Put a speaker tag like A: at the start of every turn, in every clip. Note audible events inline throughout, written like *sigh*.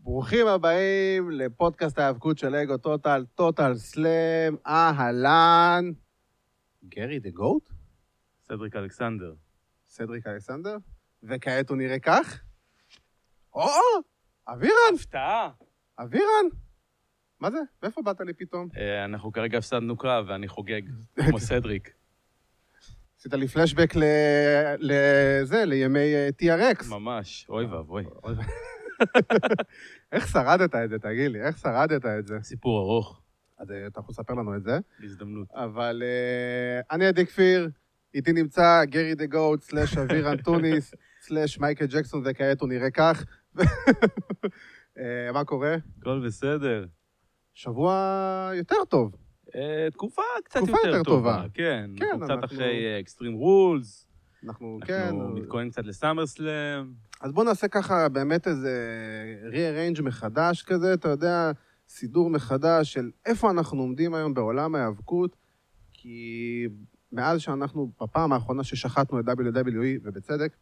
A: ברוכים הבאים לפודקאסט ההיאבקות של אגו טוטל, טוטל סלאם, אהלן. גרי דה גוט?
B: סדריק אלכסנדר.
A: סדריק אלכסנדר? וכעת הוא נראה כך? או, אבירן,
B: הפתעה.
A: אבירן. מה זה? מאיפה באת לי פתאום?
B: אה, אנחנו כרגע הפסדנו קרב ואני חוגג, כמו סדריק.
A: עשית לי פלשבק ל... לזה, לימי אה, TRX.
B: ממש, אוי ואבוי.
A: *laughs* איך שרדת את זה, תגיד לי? איך שרדת את זה?
B: סיפור ארוך,
A: אז אה, אתה יכול לספר לנו את זה.
B: בהזדמנות.
A: אבל אה, אני עדי כפיר, איתי נמצא גרי דה גוט, סלאש אבירן טוניס, *laughs* סלאש מייקל ג'קסון, וכעת הוא נראה כך. *laughs* אה, מה קורה?
B: הכל בסדר.
A: שבוע יותר טוב.
B: אה, תקופה קצת
A: תקופה יותר
B: יותר טובה.
A: טובה.
B: כן,
A: כן,
B: אנחנו קצת
A: אנחנו-
B: אחרי אקסטרים רולס.
A: אנחנו, כן...
B: אנחנו מתכוננים קצת לסאמר סלאם.
A: אז בואו נעשה ככה באמת איזה re-arrange מחדש כזה, אתה יודע, סידור מחדש של איפה אנחנו עומדים היום בעולם ההיאבקות, כי מאז שאנחנו, בפעם האחרונה ששחטנו את WWE, ובצדק,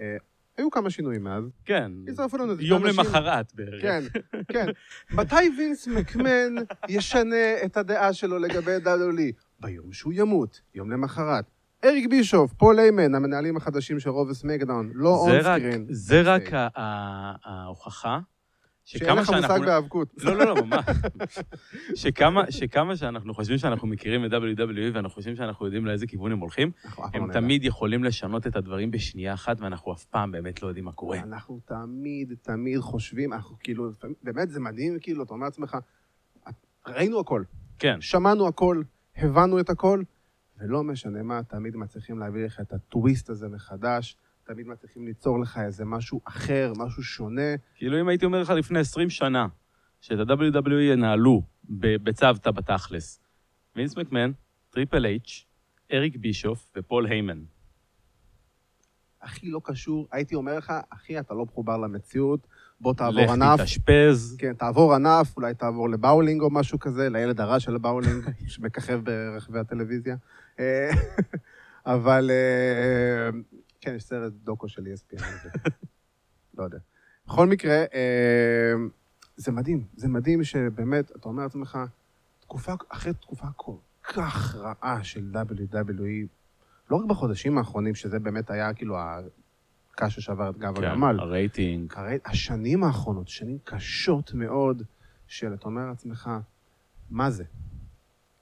A: אה, היו כמה שינויים מאז.
B: כן.
A: הצטרפו לנו איזה
B: יום
A: כמה אנשים-
B: למחרת בערך.
A: כן, כן. מתי וינס מקמן ישנה את הדעה שלו לגבי WWE? ביום שהוא ימות, יום למחרת. אריק בישוף, פול איימן, המנהלים החדשים של רוב וסמקדאון, לא
B: זה רק-
A: אונסקרין.
B: זה רק ה- ה- ההוכחה.
A: שאין
B: שכמה
A: לך
B: שאנחנו...
A: מושג בהיאבקות.
B: לא, לא, לא, ממש. שכמה, שכמה שאנחנו חושבים שאנחנו מכירים את WWE ואנחנו חושבים שאנחנו יודעים לאיזה כיוון הם הולכים,
A: אנחנו אף פעם
B: הם
A: לא
B: תמיד יכולים לשנות את הדברים בשנייה אחת, ואנחנו אף פעם באמת לא יודעים מה קורה.
A: נדע. אנחנו תמיד, תמיד חושבים, אנחנו כאילו, לפעמים- באמת זה מדהים, כאילו, אתה אומר לעצמך, ראינו הכל,
B: כן,
A: שמענו הכל, הבנו את הכל, ולא משנה מה, תמיד מצליחים להביא לך את הטוויסט הזה מחדש, תמיד מצליחים ליצור לך איזה משהו אחר, משהו שונה.
B: כאילו אם הייתי אומר לך לפני 20 שנה, שאת ה-WWE ינהלו ב- בצוותא בתכלס, וינס מקמן, טריפל אייץ', אריק בישוף ופול היימן.
A: הכי לא קשור, הייתי אומר לך, אחי, אתה לא מחובר למציאות, בוא
B: לך
A: תעבור ענף.
B: תתאשפז,
A: כן, תעבור ענף, אולי תעבור לבאולינג או משהו כזה, לילד הרע של הבאולינג, שמככב ברחבי הטלוויזיה. אה, *laughs* אבל, אה, כן, יש סרט דוקו של ESPN על זה. לא יודע. בכל מקרה, אה, זה מדהים, זה מדהים שבאמת, אתה אומר לעצמך, תקופה, אחרי תקופה כל כך רעה של WWE, לא רק בחודשים האחרונים, שזה באמת היה כאילו הקש ששבר את גב
B: כן,
A: הגמל.
B: הרייטינג,
A: הרי השנים האחרונות, שנים קשות מאוד, של אתה אומר לעצמך, מה זה?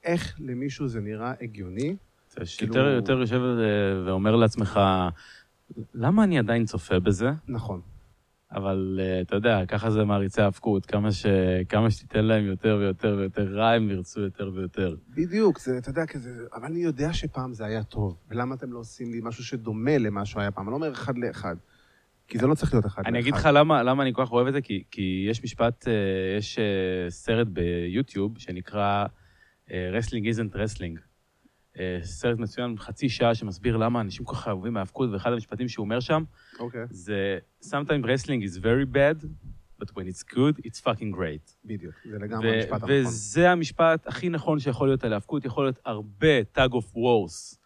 A: איך למישהו זה נראה הגיוני?
B: אתה
A: כאילו-
B: יותר יותר יושב אה, ואומר לעצמך, למה אני עדיין צופה בזה?
A: נכון.
B: אבל אה, אתה יודע, ככה זה מעריצי ההאבקות, כמה, ש... כמה שתיתן להם יותר ויותר ויותר רע, הם ירצו יותר ויותר.
A: בדיוק, זה, אתה יודע, כזה, אבל אני יודע שפעם זה היה טוב, ולמה אתם לא עושים לי משהו שדומה למה שהיה פעם? אני לא אומר אחד לאחד, כי זה לא צריך להיות אחד לאחד.
B: אני אגיד לך למה, למה אני כל כך אוהב את זה, כי, כי יש משפט, אה, יש אה, סרט ביוטיוב שנקרא אה, Wrestling isn't Wrestling. אה, סרט מצוין, חצי שעה, שמסביר למה אנשים כל כך אוהבים האבקות, ואחד המשפטים שהוא אומר שם,
A: אוקיי,
B: זה Sometimes wrestling is very bad, but when it's good, it's fucking great.
A: בדיוק, זה לגמרי
B: ו-
A: המשפט הנכון.
B: וזה המשפט הכי נכון שיכול להיות על האבקות, יכול להיות הרבה tag of wars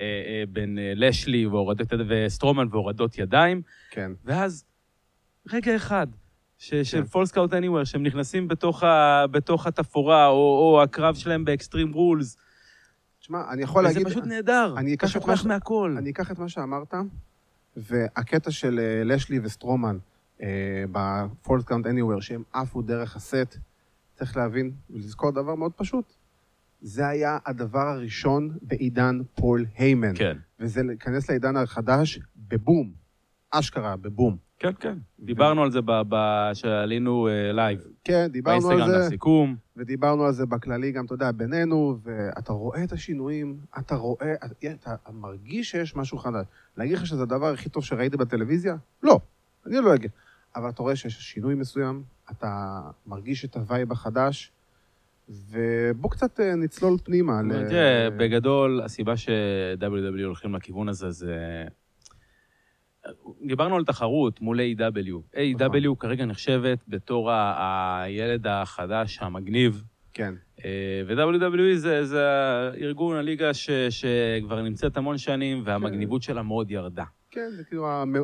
B: אה, אה, בין אה, לשלי והורדות יד- וסטרומן והורדות ידיים,
A: כן,
B: ואז רגע אחד ש- של
A: כן.
B: פולס קאוט אניוור, שהם נכנסים בתוך ה- בתוך התפאורה, או או הקרב שלהם באקסטרים רולס,
A: תשמע, אני יכול
B: וזה
A: להגיד...
B: פשוט נהדר,
A: אני
B: אתה
A: אקח את מה
B: שוכח
A: ש-
B: מהכל.
A: אני אקח את מה שאמרת, והקטע של אה, לשלי וסטרומן אה, ב-False Count Anywhere, שהם עפו דרך הסט, צריך להבין ולזכור דבר מאוד פשוט. זה היה הדבר הראשון בעידן פול היימן.
B: כן,
A: וזה להיכנס לעידן החדש בבום. אשכרה, בבום.
B: כן, כן. דיברנו על זה כשעלינו לייב.
A: כן, דיברנו על
B: באינסטגרם
A: זה.
B: לסיכום.
A: ודיברנו על זה בכללי גם, אתה יודע, בינינו, ואתה רואה את השינויים, אתה רואה, אתה מרגיש שיש משהו חדש. להגיד לך שזה הדבר הכי טוב שראיתי בטלוויזיה? לא, אני לא אגיד. אבל אתה רואה שיש שינוי מסוים, אתה מרגיש את הווייב החדש, ובוא קצת אה, נצלול פנימה. ל-
B: תראה, בגדול, הסיבה ש-WW הולכים לכיוון הזה זה... דיברנו על תחרות מול A.W. A.W. כרגע נחשבת בתור ה- הילד החדש, המגניב,
A: כן,
B: אה, ו-WWE זה, זה ארגון הליגה ש, שכבר נמצאת המון שנים, והמגניבות שלה מאוד ירדה.
A: כן, זה כאילו המ-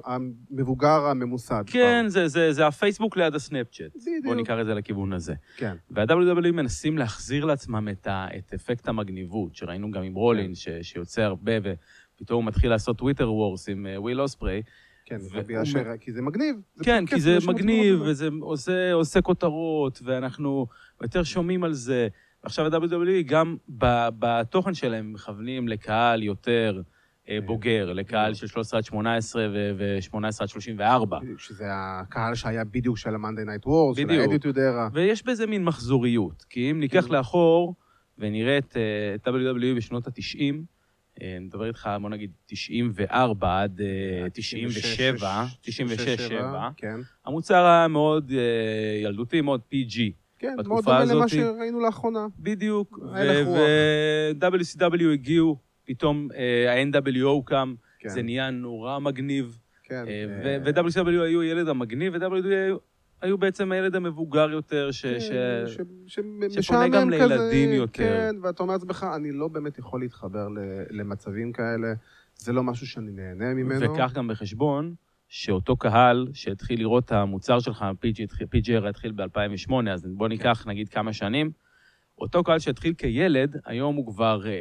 A: המבוגר הממוסד.
B: כן, זה- זה זה הפייסבוק ליד הסנאפצ'אט. בואו
A: נכון. בדיוק.
B: ניקח את זה לכיוון הזה.
A: כן,
B: וה-WWE E מנסים להחזיר לעצמם את, ה, את אפקט המגניבות, שראינו גם עם
A: כן.
B: רולין, ש, שיוצא הרבה, ופתאום הוא מתחיל לעשות טוויטר וורס עם אה, וויל אוספרי.
A: כן,
B: ו-
A: רבי אשר, כי זה מגניב. זה
B: כן,
A: פשוט
B: כי
A: כיף
B: זה
A: שיש שם
B: מגניב,
A: דברים.
B: וזה עושה, עושה כותרות, ואנחנו יותר שומעים על זה. עכשיו ה-WWE גם ב, בתוכן שלהם מכוונים לקהל יותר אה,
A: כן.
B: בוגר, לקהל של 13 עד 18 ו-18 עד 34.
A: בדיוק, שזה הקהל שהיה בדיוק של ה-Monday Night Wars, של
B: בדיוק.
A: האדיטוד ארה.
B: ויש בזה מין מחזוריות, כי אם ניקח
A: כן.
B: לאחור ונראה את אה, WWE בשנות ה-90, אה, נדבר איתך, בוא נגיד, 94 עד אה, 97, 97,
A: כן.
B: המוצר היה מאוד אה, ילדותי, מאוד PG.
A: כן,
B: בתקופה
A: מאוד דומה למה
B: הזאת-
A: שראינו לאחרונה.
B: בדיוק,
A: היה לך רוח.
B: ו-WCW הגיעו, פתאום אה, ה-NWO קם,
A: כן,
B: זה נהיה נורא מגניב,
A: כן. אה,
B: ו-WCW היו הילד המגניב, ו-WW היו בעצם הילד המבוגר יותר, ש...
A: כן,
B: ש-
A: ש- ש-
B: שפונה גם
A: משעמם כזה,
B: לילדים יותר.
A: כן, ואתה אומר לעצמך, אני לא באמת יכול להתחבר ל- למצבים כאלה, זה לא משהו שאני נהנה ממנו.
B: וקח גם בחשבון שאותו קהל שהתחיל לראות את המוצר שלך, PG התחיל- PGR התחיל ב-2008, אז בוא ניקח נגיד כמה שנים, אותו קהל שהתחיל כילד, היום הוא כבר, אה,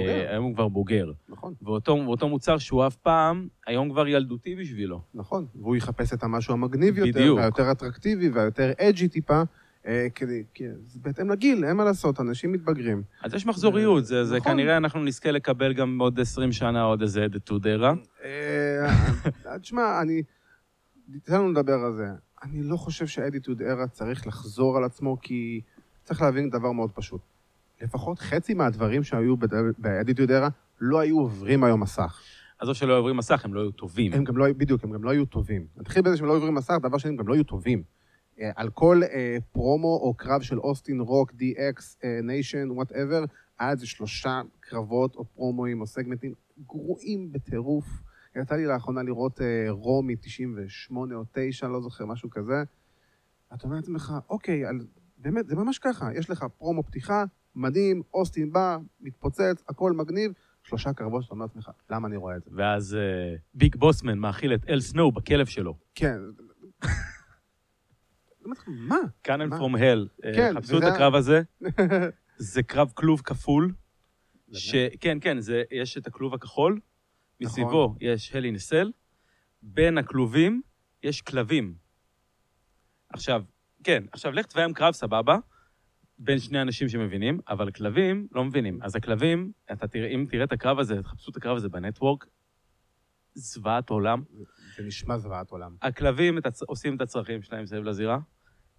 A: בוגר.
B: היום הוא כבר בוגר.
A: נכון,
B: ואותו, ואותו מוצר שהוא אהב פעם, היום כבר ילדותי בשבילו.
A: נכון. והוא יחפש את המשהו המגניב יותר,
B: בדיוק.
A: והיותר אטרקטיבי, והיותר אג'י טיפה, אה, כדי- כי זה בהתאם לגיל, אין מה לעשות, אנשים מתבגרים.
B: אז יש מחזוריות, זה, זה
A: נכון.
B: כנראה אנחנו נזכה לקבל גם עוד 20 שנה עוד איזה עד תודרה.
A: אה, תשמע, אני... תן לנו לדבר על זה. אני לא חושב שהאדיטוד ארה צריך לחזור על עצמו, כי צריך להבין דבר מאוד פשוט. לפחות חצי מהדברים שהיו באדיטוד ארה לא היו עוברים היום מסך.
B: עזוב שלא עוברים מסך, הם לא היו טובים.
A: הם גם לא, היו- בדיוק, הם גם לא היו טובים. נתחיל בזה שהם לא עוברים מסך, דבר שני, הם גם לא היו טובים. אה, על כל אה, פרומו או קרב של אוסטין, רוק, DX, אה, ניישן, וואטאבר, היה איזה שלושה קרבות או פרומואים או סגמנטים גרועים בטירוף. יצא לי לאחרונה לראות אה, רו מ-98 או 9, לא זוכר, משהו כזה. אתה אומר לעצמך, אוקיי, על... באמת, זה ממש ככה. יש לך פרומו פתיחה, מדהים, אוסטין בא, מתפוצץ, הכל מגניב, שלושה קרבות שאתה אומר לעצמך, למה אני רואה את זה?
B: ואז אה, ביג בוסמן מאכיל את אל סנואו בכלב שלו.
A: כן. אמרתי לך, מה?
B: קאנן
A: מה?
B: פרום הל,
A: כן,
B: אה, חפשו את
A: וזה-
B: הקרב הזה. זה קרב כלוב כפול, ש... כן, כן, זה, יש את הכלוב
A: נכון.
B: הכחול, מסביבו יש הלי נסל, בין הכלובים יש כלבים. עכשיו, כן, עכשיו לך תביים קרב סבבה, בין שני אנשים שמבינים, אבל כלבים לא מבינים. אז הכלבים, אתה תראה, אם תראה את הקרב הזה, תחפשו את הקרב הזה בנטוורק, זוועת עולם.
A: זה נשמע זוועת עולם.
B: הכלבים את הצ... עושים את הצרכים שלהם סביב לזירה.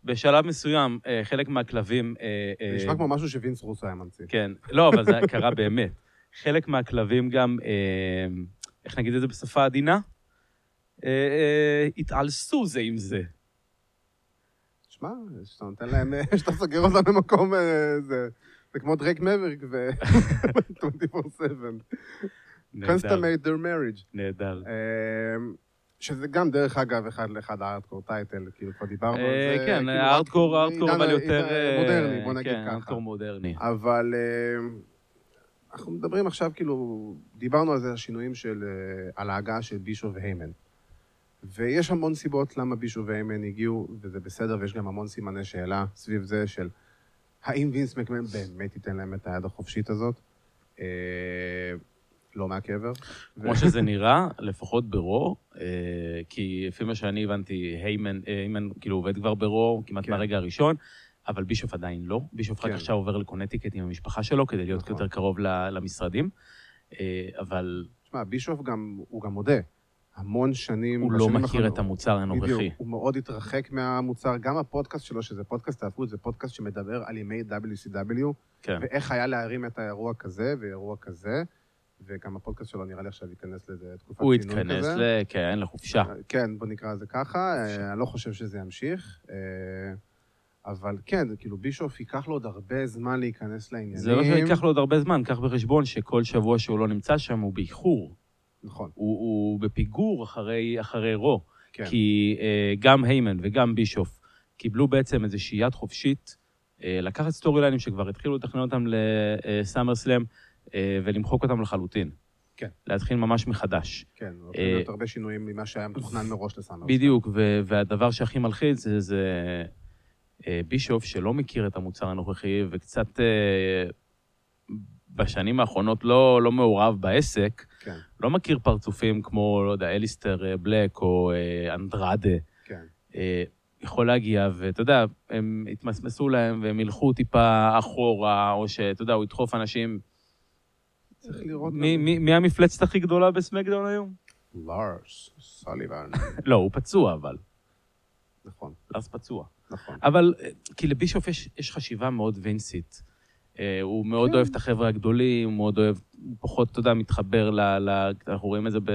B: בשלב מסוים, אה, חלק מהכלבים... אה,
A: זה
B: אה,
A: נשמע כמו משהו שווינס רוסו היה ממציא.
B: כן, לא, אבל זה קרה באמת. חלק מהכלבים גם, אה, איך נגיד את זה בשפה עדינה? אה, אה, התעלסו זה עם זה.
A: תשמע, שאתה נותן להם, אה, שאתה סוגר אותם במקום, אה, זה- זה כמו דרייק מבריק
B: *laughs*
A: ו... 24/7.
B: נהדר,
A: Constamate their marriage.
B: נהדר.
A: אמ, שזה גם, דרך אגב, אחד לאחד הארטקור טייטל, כאילו כבר דיברנו על
B: אה,
A: זה.
B: כן,
A: כאילו,
B: הארדקור, הארדקור,
A: עידן-
B: אבל יותר...
A: עידן
B: אה,
A: מודרני, בוא נגיד
B: כן,
A: ככה.
B: הארדקור מודרני.
A: אבל אה, אנחנו מדברים עכשיו, כאילו, דיברנו על זה, השינויים של, אה, על ההגעה של בישו והיימן. ויש המון סיבות למה בישו והיימן הגיעו, וזה בסדר, ויש גם המון סימני שאלה סביב זה של האם וינס מקמן באמת ייתן להם את היד החופשית הזאת? אה, לא מהקבר. ו-
B: כמו שזה נראה, לפחות ברו, אה, כי לפי מה שאני הבנתי, היימן, אה, היימן כאילו עובד כבר ברו כמעט
A: כן.
B: מהרגע הראשון, אבל בישוף עדיין לא. בישוף רק
A: כן.
B: עכשיו עובר לקונטיקט עם המשפחה שלו כדי להיות
A: נכון.
B: יותר קרוב ל- למשרדים, אה, אבל
A: תשמע, בישוף גם, הוא גם מודה. המון שנים...
B: הוא לא
A: בשנים
B: מכיר
A: האחרונות-
B: את המוצר הנוכחי.
A: בדיוק, הוא מאוד התרחק מהמוצר. גם הפודקאסט שלו, שזה פודקאסט ההפוך, זה פודקאסט שמדבר על ימי WCW,
B: כן.
A: ואיך היה להרים את האירוע כזה ואירוע כזה, וגם הפודקאסט שלו נראה לי עכשיו ייכנס לאיזה תקופת
B: הוא
A: צינון
B: התכנס
A: כזה.
B: ל... כן, לחופשה.
A: כן, בוא נקרא לזה ככה, אה, אני לא חושב שזה ימשיך, אה, אבל כן, זה כאילו בישוף ייקח לו עוד הרבה זמן להיכנס לעניינים.
B: זה לא שייקח לו עוד הרבה זמן, קח בחשבון שכל שבוע שהוא לא נמצא שם הוא באיחור.
A: נכון,
B: הוא, הוא בפיגור אחרי, אחרי רו.
A: כן.
B: כי אה, גם היימן וגם בישוף קיבלו בעצם איזושהי יד חופשית, אה, לקחת אה, סטורי ליינים שכבר התחילו לתכנן אה, אותם לסאמר סלאם ולמחוק אותם לחלוטין.
A: כן.
B: להתחיל ממש מחדש.
A: כן, הולכים להיות הרבה שינויים ממה שהיה מתוכנן מראש לסאנר.
B: אה, בדיוק, ו- והדבר שהכי מלחיץ זה, זה אה, בישוף שלא מכיר את המוצר הנוכחי, וקצת אה, בשנים האחרונות לא, לא מעורב בעסק,
A: כן,
B: לא מכיר פרצופים כמו, לא יודע, אליסטר אה, בלק או אה, אנדרדה.
A: כן.
B: אה, יכול להגיע, ואתה יודע, הם יתמסמסו להם והם ילכו טיפה אחורה, או שאתה יודע, הוא ידחוף אנשים.
A: צריך לראות...
B: מי- מי מי המפלצת הכי גדולה בסמקדאון היום?
A: לארס,
B: *laughs*
A: סליבן.
B: לא, הוא פצוע אבל.
A: נכון,
B: אז פצוע.
A: נכון.
B: אבל אה, כי לבישוף יש, יש חשיבה מאוד וינסית. אה, הוא מאוד
A: כן.
B: אוהב את החבר'ה הגדולים, הוא מאוד אוהב, הוא פחות, אתה יודע, מתחבר ל... ל אנחנו רואים את זה ב,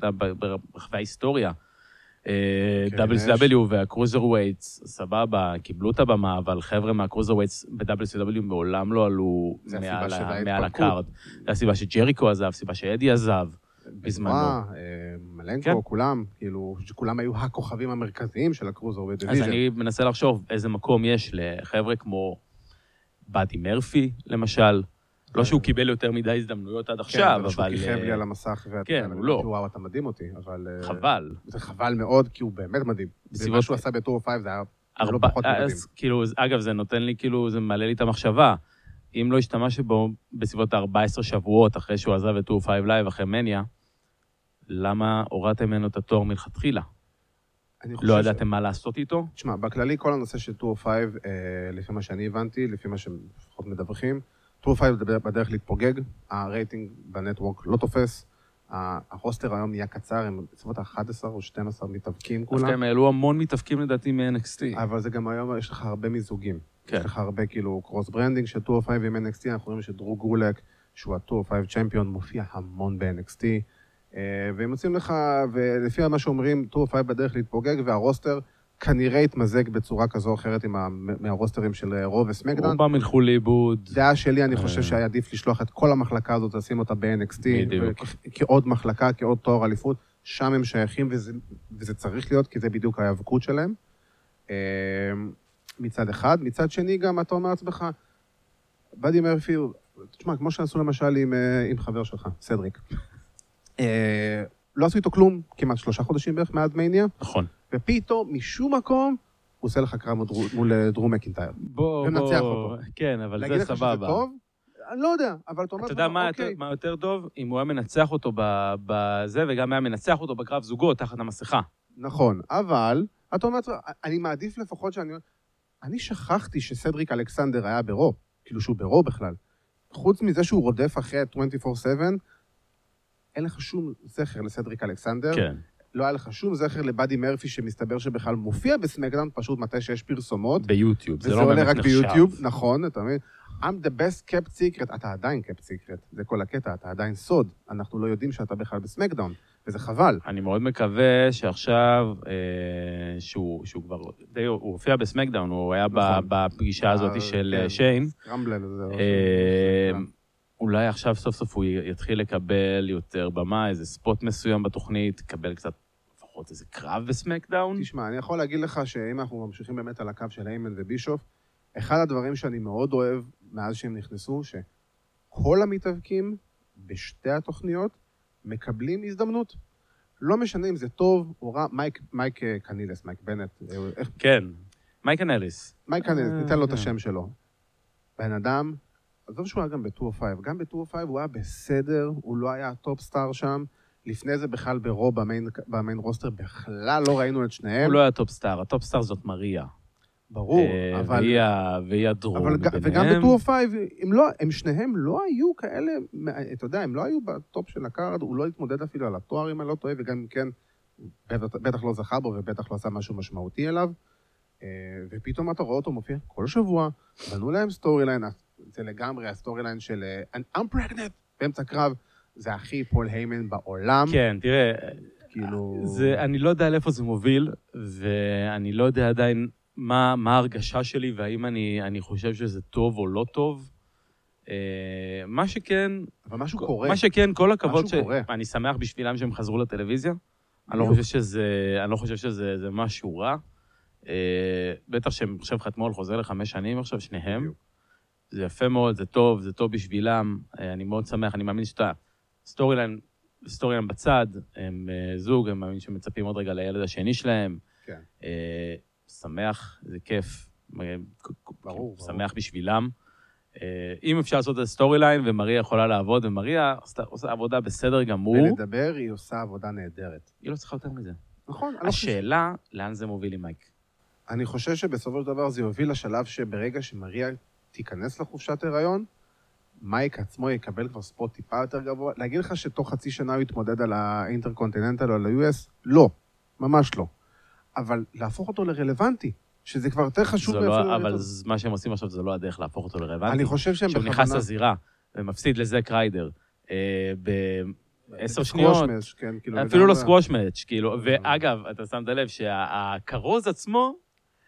B: ב, ב, ברחבי ההיסטוריה. אה,
A: כן,
B: WCW והקרוזר ווייטס, סבבה, קיבלו את הבמה, אבל חבר'ה מהקרוזר ווייטס ב-WCW מעולם לא עלו
A: זה הסיבה
B: מעל,
A: של
B: ה- מעל
A: ההתפרקות.
B: הקארד. זה הסיבה שג'ריקו עזב, הסיבה שאדי עזב. בזמנו.
A: בזמנו. אה, מלנקו,
B: כן.
A: כולם, כאילו, כולם היו הכוכבים המרכזיים של הקרוזר
B: אז
A: בדיוויזיה.
B: אני מנסה לחשוב איזה מקום יש לחבר'ה כמו באדי מרפי, למשל. לא שהוא קיבל יותר מדי הזדמנויות עד עכשיו,
A: אה, כן, שהוא
B: אבל
A: כיכב לי
B: אה,
A: על המסך, ואתה
B: כן,
A: יודע,
B: הוא לא.
A: אמרתי, כאילו, וואו, אתה מדהים אותי, אבל... אה,
B: חבל.
A: זה חבל מאוד, כי הוא באמת מדהים. זה מה
B: בסביבות-
A: שהוא עשה בטור 5 זה היה הוא לא
B: ארבע,
A: פחות מדהים.
B: אז כאילו, זה- אגב, זה נותן לי, כאילו, זה מעלה לי את המחשבה. אם לא השתמשת בו בסביבות 14 שבועות אחרי שהוא עזב את 2-5 לייב אחרי מניה, למה הורדתם ממנו את התואר מלכתחילה?
A: אני חושב
B: לא
A: ש-
B: ידעתם מה לעשות איתו?
A: תשמע, בכללי כל הנושא של טור 5, אה, לפי מה שאני הבנתי, לפי מה שהם לפחות מדווחים, טור 5 בדרך להתפוגג, הרייטינג בנטוורק לא תופס, ה- הרוסטר היום נהיה קצר, הם בסביבות ה-11 או 12 מתאבקים
B: דווקא
A: כולם, אה,
B: הם כן, העלו המון מתאבקים לדעתי מ-NXT.
A: אבל זה גם היום, יש לך הרבה מיזוגים.
B: אוקיי.
A: יש
B: כן.
A: לך הרבה כאילו קרוס ברנדינג של טור 5 עם NXT, אנחנו רואים שדרו גולק, שהוא הטור 5 צ'מפיון, מופיע המון ב-NXT, אה, והם יוצאים לך, ולפי מה שאומרים, טור 5 בדרך להתפוגג, והרוסטר כנראה יתמזג בצורה כזו או אחרת עם ה- מהרוסטרים של אה, רו וסמקדאון.
B: רובם ילכו לאיבוד.
A: דעה שלי, אני חושב
B: אה.
A: שהיה עדיף לשלוח את כל המחלקה הזאת, לשים אותה ב-NXT,
B: בדיוק.
A: וכ- כעוד מחלקה, כעוד תואר אליפות, שם הם שייכים, וזה, וזה צריך להיות, כי זה בדיוק ההיאבקות שלהם. אה, מצד אחד. מצד שני, גם אתה אומר לעצמך, באדי מרפי, הוא- תשמע, כמו שעשו למשל עם, אה, עם חבר שלך, סדריק. אה, לא עשו איתו כלום, כמעט שלושה חודשים בערך מאז מניה,
B: נכון.
A: ופתאום, משום מקום, הוא עושה לך קרב מול דרו- מול אה, דרום מקינטייר.
B: בוא, בוא.
A: ונצח אותו.
B: כן, אבל
A: להגיד
B: זה
A: לך שזה
B: סבבה.
A: טוב? אני לא יודע, אבל אתה אומר,
B: אתה יודע
A: לעצמך,
B: מה יותר-
A: אוקיי.
B: מה יותר טוב? אם הוא היה מנצח אותו ב- בזה, וגם היה מנצח אותו בקרב זוגות תחת המסכה.
A: נכון, אבל אתה אומר, לעצמך, אני מעדיף לפחות שאני... אני שכחתי שסדריק אלכסנדר היה ברו, כאילו שהוא ברו בכלל. חוץ מזה שהוא רודף אחרי 24/7, אין לך שום זכר לסדריק אלכסנדר.
B: כן.
A: לא היה לך שום זכר לבאדי מרפי, שמסתבר שבכלל מופיע בסמקדאון, פשוט מתי שיש פרסומות.
B: ביוטיוב, זה
A: וזה
B: לא באמת
A: עולה
B: נחשב.
A: רק ביוטיוב, נכון, אתה מבין? I'm the best kept secret, אתה עדיין kept secret, זה כל הקטע, אתה עדיין סוד, אנחנו לא יודעים שאתה בכלל בסמקדאון, וזה חבל.
B: אני מאוד מקווה שעכשיו, אה, שהוא שהוא כבר, די, הוא הופיע בסמקדאון, הוא היה ב-
A: נכון.
B: בפגישה
A: אה,
B: הזאת של
A: כן. נכון.
B: אה, שיין.
A: סקרמבלר זה... לא או
B: אה,
A: ש-
B: אולי עכשיו סוף סוף הוא י- יתחיל לקבל יותר במה, איזה ספוט מסוים בתוכנית, יקבל קצת, לפחות איזה קרב בסמקדאון.
A: תשמע, אני יכול להגיד לך שאם אנחנו ממשיכים באמת על הקו של איימן ובישוף, אחד הדברים שאני מאוד אוהב מאז שהם נכנסו, שכל המתאבקים בשתי התוכניות מקבלים הזדמנות. לא משנה אם זה טוב או רע, מייק, מייק אה, קנילס, מייק בנט, אה, איך
B: כן, מייקל אליס.
A: מייק קנדס,
B: אה,
A: ניתן לו את
B: כן.
A: השם שלו. בן אדם, עזוב שהוא היה גם בטור 5, גם בטור 5 הוא היה בסדר, הוא לא היה הטופ סטאר שם. לפני זה בכלל ברו במיין, במיין רוסטר, בכלל לא ראינו את שניהם.
B: הוא לא היה טופ סטאר, הטופ סטאר זאת מריה.
A: ברור,
B: אה,
A: אבל...
B: והיא ה- והיא הדרום
A: אבל ג-
B: ביניהם.
A: וגם בטור 5, הם, לא, הם שניהם לא היו כאלה, מה- אתה יודע, הם לא היו בטופ של הקארד, הוא לא התמודד אפילו על התואר, אם אני לא טועה, וגם אם כן, הוא בטח, בטח לא זכה בו ובטח לא עשה משהו משמעותי אליו. אה, ופתאום אתה רואה אותו מופיע כל שבוע, בנו להם סטורי ליין, זה לגמרי הסטורי ליין של אה, I'm pregnant באמצע קרב, זה הכי פול היימן בעולם,
B: כן, תראה,
A: כאילו...
B: זה, אני לא יודע לאיפה זה מוביל, ואני לא יודע עדיין מה, מה ההרגשה שלי, והאם אני, אני חושב שזה טוב או לא טוב. אה, מה שכן,
A: אבל משהו קורה.
B: מה שכן, כל הכבוד,
A: משהו קורה.
B: אני שמח בשבילם שהם חזרו לטלוויזיה. אני לא
A: בדיוק.
B: חושב שזה, אני לא חושב שזה זה משהו רע. אה, בטח שהם עכשיו חתמו על חוזה לחמש שנים עכשיו, שניהם.
A: בדיוק.
B: זה יפה מאוד, זה טוב, זה טוב בשבילם. אה, אני מאוד שמח, אני מאמין שאתה סטורי ליין, סטורי ליין בצד, הם אה, זוג, הם מאמין שמצפים עוד רגע לילד השני שלהם.
A: כן.
B: אה, שמח, זה כיף. אה,
A: ברור, ברור.
B: שמח בשבילם. אה, אם אפשר לעשות את הסטורי ליין, ומריה יכולה לעבוד, ומריה עשתה- עושה עבודה בסדר גמור,
A: ולדבר, היא עושה עבודה נהדרת.
B: היא לא צריכה יותר מזה.
A: נכון, אני לא חושב-
B: השאלה, לאן זה מוביל עם מייק?
A: אני חושב שבסופו של דבר זה יוביל לשלב שברגע שמריה תיכנס לחופשת הריון, מייק עצמו יקבל כבר ספוט טיפה יותר גבוה. להגיד לך שתוך חצי שנה הוא יתמודד על האינטרקונטיננטל או על ה-US? לא, ממש לא. אבל להפוך אותו לרלוונטי, שזה כבר יותר חשוב.
B: זו
A: מאפילו-
B: לא, אבל ז- מה שהם עושים עכשיו זה לא הדרך להפוך אותו
A: אני
B: לרלוונטי.
A: חושב שהם
B: כשהוא
A: בכוונה...
B: נכנס לזירה ומפסיד לזק ריידר אה, בעשר
A: סקווש
B: שניות,
A: מאש, כן, כאילו,
B: אפילו לא
A: לגמרי. אה.
B: סקווש מאץ', כאילו,
A: לגמרי.
B: ואגב, אתה שמת לב שהכרוז עצמו,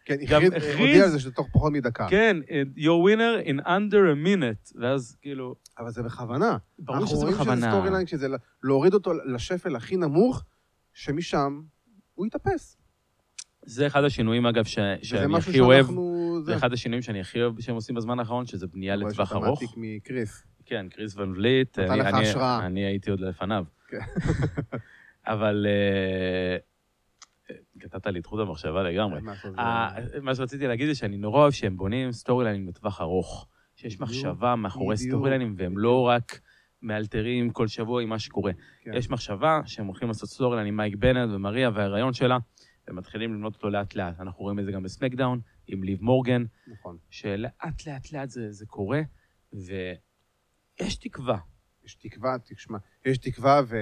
A: כן,
B: גם
A: הכריז,
B: הכריז-
A: הודיע על זה שתוך פחות מדקה.
B: כן, your winner in under a minute, ואז כאילו,
A: אבל זה בכוונה.
B: ברור שזה
A: אנחנו רואים שזה
B: בכוונה.
A: סטורי ליין, שזה לה- להוריד אותו לשפל הכי נמוך, שמשם הוא יתאפס.
B: זה אחד השינויים, אגב, ש-
A: וזה
B: שאני
A: משהו
B: הכי אוהב,
A: שאנחנו...
B: זה אחד השינויים שאני הכי אוהב שהם עושים בזמן האחרון, שזה בנייה
A: רואה
B: לטווח
A: אוקיי, שאתה
B: ארוך.
A: מעתיק מקריס.
B: כן, קריס ון וליט.
A: נתן
B: אני-
A: לך
B: אני-
A: השראה.
B: אני הייתי עוד לפניו.
A: כן.
B: *laughs* אבל אה, קטעת לי את חוט המחשבה לגמרי.
A: מה לעשות, זה-
B: ה- מה שרציתי להגיד זה שאני נורא אוהב שהם בונים סטורי ליינים בטווח ארוך. שיש
A: בדיוק,
B: מחשבה מאחורי
A: בדיוק.
B: סטורי ליינים, והם לא רק מאלתרים כל שבוע עם מה שקורה.
A: כן.
B: יש מחשבה שהם הולכים לעשות סטורי ליין עם מייק בנט ומריה וההיריון שלה, ומתחילים לבנות אותו לאט-לאט. אנחנו רואים את זה גם בסמקדאון, עם ליב מורגן,
A: נכון.
B: שלאט לאט לאט זה, זה קורה, ויש תקווה.
A: יש תקווה, תשמע, יש תקווה ו...